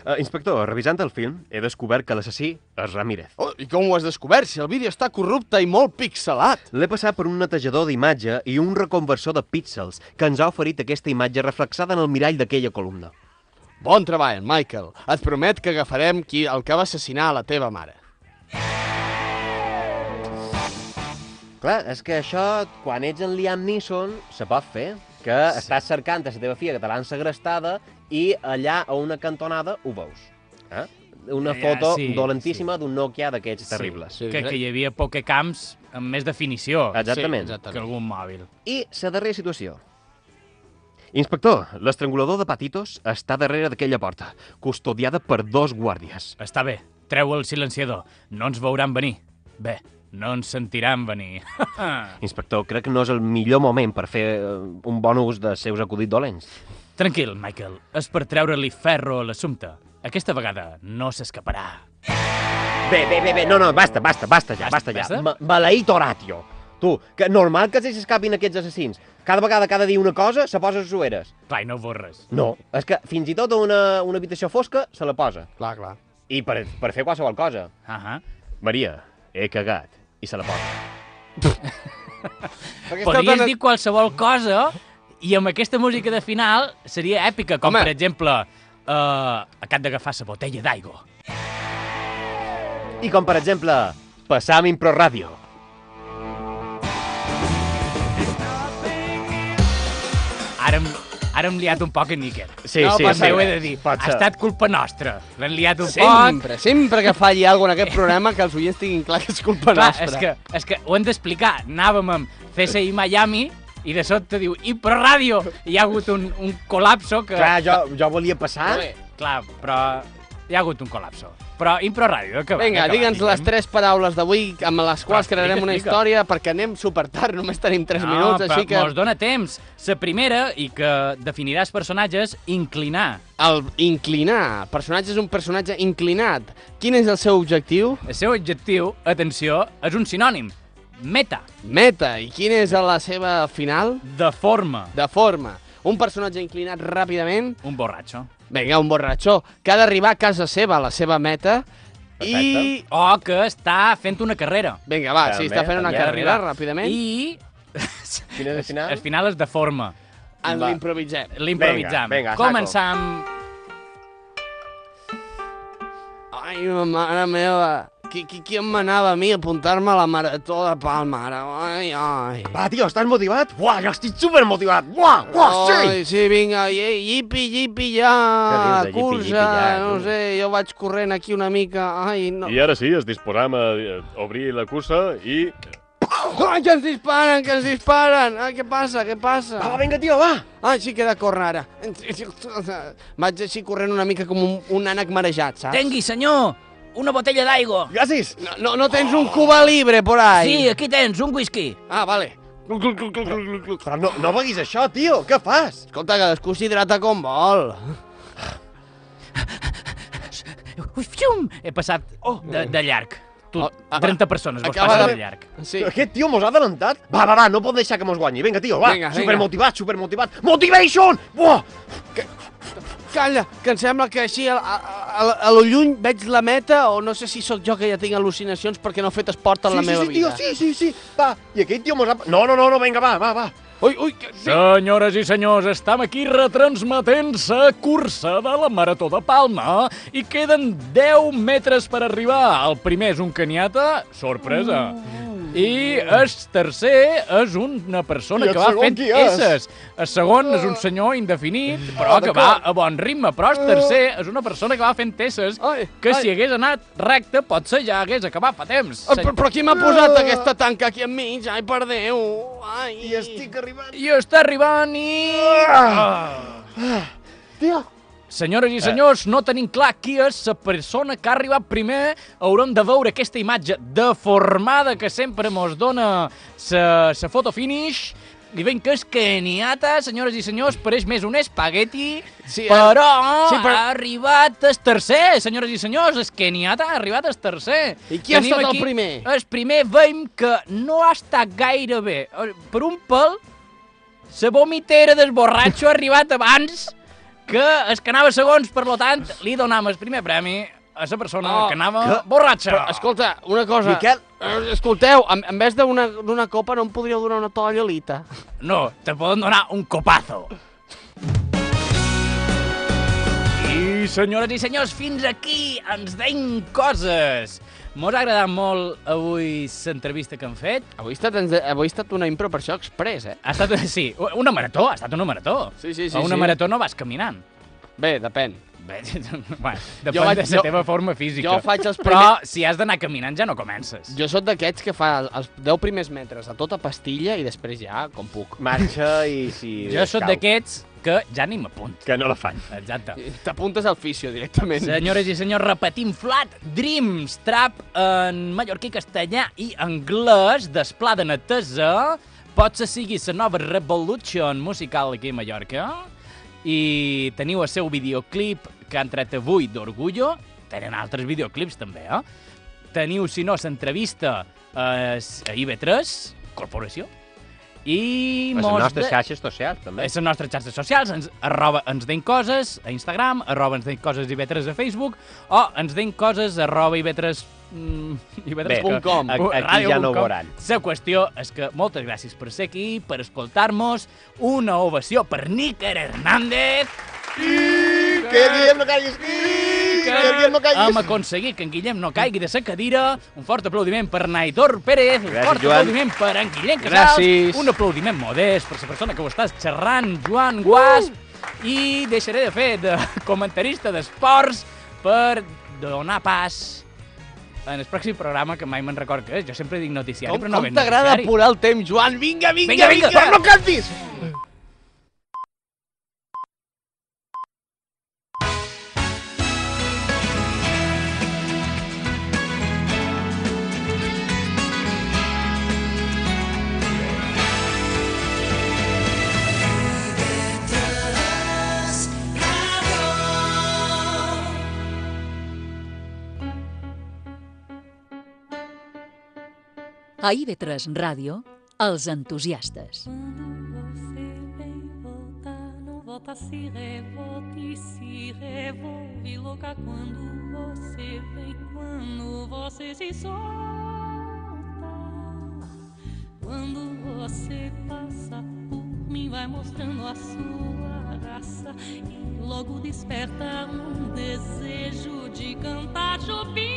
C: Uh, inspector, revisant el film, he descobert que l'assassí és Ramírez.
D: Oh, I com ho has descobert? Si el vídeo està corrupte i molt pixelat.
C: L'he passat per un netejador d'imatge i un reconversor de píxels que ens ha oferit aquesta imatge reflexada en el mirall d'aquella columna.
D: Bon treball, Michael. Et promet que agafarem qui el que va assassinar a la teva mare.
C: Clar, és que això, quan ets en Liam Neeson, se pot fer, que sí. estàs cercant a la teva filla que te l'han segrestada i allà a una cantonada ho veus. Eh? Una
B: Ja,
C: foto
B: sí,
C: dolentíssima d'un Nokia d'aquests terribles.
B: Sí, que, que hi havia Pokecamps amb més definició
C: Exactament.
D: Sí,
B: que algun mòbil.
C: I la darrera situació. Inspector, l'estrangulador de Patitos està darrere d'aquella porta, custodiada per dos guàrdies.
B: Està bé, treu el silenciador. No ens veuran venir. Bé, no ens sentiran venir.
C: Ah. Inspector, crec que no és el millor moment per fer eh, un bon ús dels seus acudits dolents.
B: Tranquil, Michael. És per treure-li ferro a l'assumpte. Aquesta vegada no s'escaparà.
C: Bé, bé, bé, bé, no, no, basta, basta, basta ja, basta,
B: Basta,
C: ja.
B: basta?
C: Ma- Maleït Horatio. Tu, que normal que s'escapin aquests assassins. Cada vegada que ha de dir una cosa, se posa les sueres.
B: Clar, i no borres.
C: No, és que fins i tot a una, una habitació fosca se la posa.
D: Clar, clar.
C: I per, per fer qualsevol cosa.
B: Ahà.
C: Maria, he cagat. I se la posa.
B: Podries dir qualsevol cosa i amb aquesta música de final seria èpica, com
D: Home.
B: per exemple... Uh, acabat d'agafar la botella d'aigua.
C: I com, per exemple, passar amb Impro Ràdio.
B: Ara, hem- ara hem liat un poc a Níquel.
C: Sí,
B: no,
C: sí,
B: pot
C: sí.
B: ser, ho he de dir.
C: Pot
B: Ha
C: ser.
B: estat culpa nostra. L'hem liat un poc.
D: Sempre, sempre que falli alguna en aquest programa que els oients tinguin clar que és culpa
B: Clar,
D: nostra.
B: és que, és que ho hem d'explicar. Anàvem amb CSI Miami i de sobte diu, i per ràdio! I hi ha hagut un, un col·lapso que...
C: Clar, jo, jo volia passar...
B: Bé, clar, però hi ha hagut un col·lapso. Però Impro Ràdio, eh, que va,
D: Vinga,
B: que va,
D: digue'ns les tres paraules d'avui amb les quals
B: Clar,
D: crearem
B: explica,
D: una
B: explica.
D: història perquè anem super tard, només tenim 3
B: no,
D: minuts,
B: però
D: així que
B: mos dona temps. La primera, i que definiràs personatges, inclinar.
D: el inclinar. El personatge és un personatge inclinat. Quin és el seu objectiu?
B: El seu adjectiu, atenció, és un sinònim. Meta,
D: Meta. I quina és la seva final?
B: de forma,
D: De forma. Un personatge inclinat ràpidament.
B: un borratxo.
D: Vinga, un borratxó que ha d'arribar a casa seva, a la seva meta. I...
B: O que està fent una carrera.
D: Vinga, va,
C: També,
D: sí, està fent una
C: també
B: Ha
D: carrera
B: d'arribar.
D: ràpidament. I...
B: I...
C: Quin és el final?
B: El final és de forma.
D: En
C: Va.
D: Ah, l'improvisem.
B: L'improvisam.
C: Vinga, vinga, saco.
B: Començar amb...
D: Ai, mare meva. Qui, qui, qui em manava a mi a apuntar-me a la marató de Palma, ara? Ai, ai.
C: Va, tio, estàs motivat? Buah, jo estic supermotivat! Buah, buah, sí!
D: Ai, sí, vinga, i- yipi, yipi, ja,
C: Què dius de yipi,
D: cursa,
C: yipi, ja,
D: no
C: tu?
D: sé, jo vaig corrent aquí una mica, ai, no.
L: I ara sí, es disposam a eh, obrir la cursa i...
D: Ai, que ens disparen, que ens disparen, ai, què passa, què passa?
C: Va, vinga, tio, va!
D: Ai, sí que he de córrer ara. Vaig així corrent una mica com un, un ànec marejat, saps?
B: Tengui, senyor, una botella d'aigua.
C: Gràcies!
D: No, no, no tens un Cuba Libre por ahí?
B: Sí, aquí tens, un whisky.
D: Ah, vale.
C: Però no, no beguis això, tio, què fas?
D: Escolta, cadascú s'hidrata com vol.
B: Ui, fium! He passat de, de llarg.
M: Tu, 30 persones vos passen de llarg.
D: Sí.
C: Aquest tio mos ha adelantat. Va, va, va, no pot deixar que mos guanyi. Vinga, tio, va.
D: Vinga, vinga.
C: supermotivat, supermotivat. Motivation! Buah!
D: Calla, que em sembla que així a, a, a, a lo lluny veig la meta o no sé si sóc jo que ja tinc al·lucinacions perquè no he fet esport en
C: sí,
D: la meva
C: sí, sí,
D: vida.
C: tio, sí, sí, sí. Va, i aquell tio mos ha... No, no, no, no vinga, va, va, va.
D: Ui, ui, que...
B: Senyores i senyors, estem aquí retransmetent la cursa de la Marató de Palma i queden 10 metres per arribar. El primer és un caniata, sorpresa.
D: Mm.
B: I el tercer és una persona
M: I el
B: que va
M: segon
B: fent
M: qui és?
B: esses. El segon
D: Ah.
B: és un senyor indefinit,
D: Mm.
B: però que va a bon ritme. Però el tercer és una persona que va fent esses que si hagués anat recte potser ja hagués acabat fa temps.
D: Ah, Però, però qui m'ha posat aquesta tanca aquí enmig? Ai, per Déu! Ai. I
C: estic arribant.
B: I està arribant i... Ah.
C: Tio!
B: Senyores i senyors, no tenim clar qui és la persona que ha arribat primer. Haurem de veure aquesta imatge deformada que sempre mos dona la foto finish. I ben que és keniata, senyores i senyors, pareix més un espagueti, sí,
D: eh,
B: però,
D: sí,
B: sí,
D: però-
B: però ha arribat el tercer, senyores i senyors, el keniata ha arribat el tercer.
D: I qui ha estat el primer?
B: El primer veiem que no ha estat gaire bé. Eh, Per un pèl, la vomitera del borratxo ha arribat abans que es que anava segons, per lo tant, li donam el primer premi a la persona
D: Oh,
B: que anava
D: que-
B: borratxa.
D: Però, escolta, una cosa...
B: Miquel.
D: Eh, Escolteu, en, en vez d'una d'una copa no em podríeu donar una tovallalita?
B: No, te poden donar un copazo. I, senyores i senyors, fins aquí ens deim coses. Mos ha agradat molt avui l'entrevista que hem fet.
D: Avui ha estat, ens- avui ha estat una impro per això express, eh?
B: Ha estat, sí, una marató, ha estat una marató.
D: Sí, sí, sí,
B: A una
D: sí.
B: marató no vas caminant.
D: Bé, depèn.
B: Bé, bueno, depèn
D: vaig-
B: de la
D: jo-
B: teva forma física.
D: jo faig els
B: Però
D: primers-
B: si has d'anar caminant ja no comences.
D: Jo sóc d'aquests que fa els 10 primers metres a tota pastilla i després ja, com puc.
C: Marxa i si...
B: Jo sóc d'aquests que ja ni m'apunt.
C: Que no la faig.
B: Exacte.
D: T'apuntes al fisio directament.
B: Senyores i senyors, repetim Flat Dreams, trap en mallorquí, castellà i anglès, d'esplà de netesa, potser sigui la nova Revolution musical aquí a Mallorca, i teniu el seu videoclip que han tret avui d'Orgullo, tenen altres videoclips també, eh? Teniu, si no, l'entrevista eh, a IB3, Corporació, i
C: Les
B: mos
C: nostres
B: de-
C: xarxes socials, també.
B: també. les nostres xarxes socials, ens, arroba ens deim coses a Instagram, arroba ens deim coses i vetres a Facebook, o ens deim coses arroba i vetres... Mm, i vetres
C: Bé, a- aquí ja no ho veuran.
B: La qüestió és que moltes gràcies per ser aquí, per escoltar-nos, una ovació per Níker Hernández,
C: Que Guillem no caiguis! Que Guillem no
B: hem
C: caiguis!
B: aconseguit que en Guillem no caigui de sa cadira, un fort aplaudiment per Naitor Pérez, un
C: Gràcies,
B: fort
C: Joan.
B: aplaudiment per en Guillem Casals,
D: Gràcies.
B: un aplaudiment modest per la persona que ho estàs xerrant, Joan Guas,
D: Uh!
B: i deixaré de fer de comentarista d'esports per donar pas en el pròxim programa, que mai me'n record que és. Jo sempre dic noticiari,
D: Com,
B: però no
D: com
B: ben
D: t'agrada
B: noticiari.
D: apurar el temps, Joan? Vinga, vinga,
B: Vinga, vinga,
D: vinga! vinga.
B: però no
D: cantis!
E: A IB3 Ràdio, els entusiastes.
N: Não volta se revolta e se revolve louca quando você vem, quando você se solta. Quando você passa por mim, vai mostrando a sua raça e logo desperta um desejo de cantar É. Jupiter.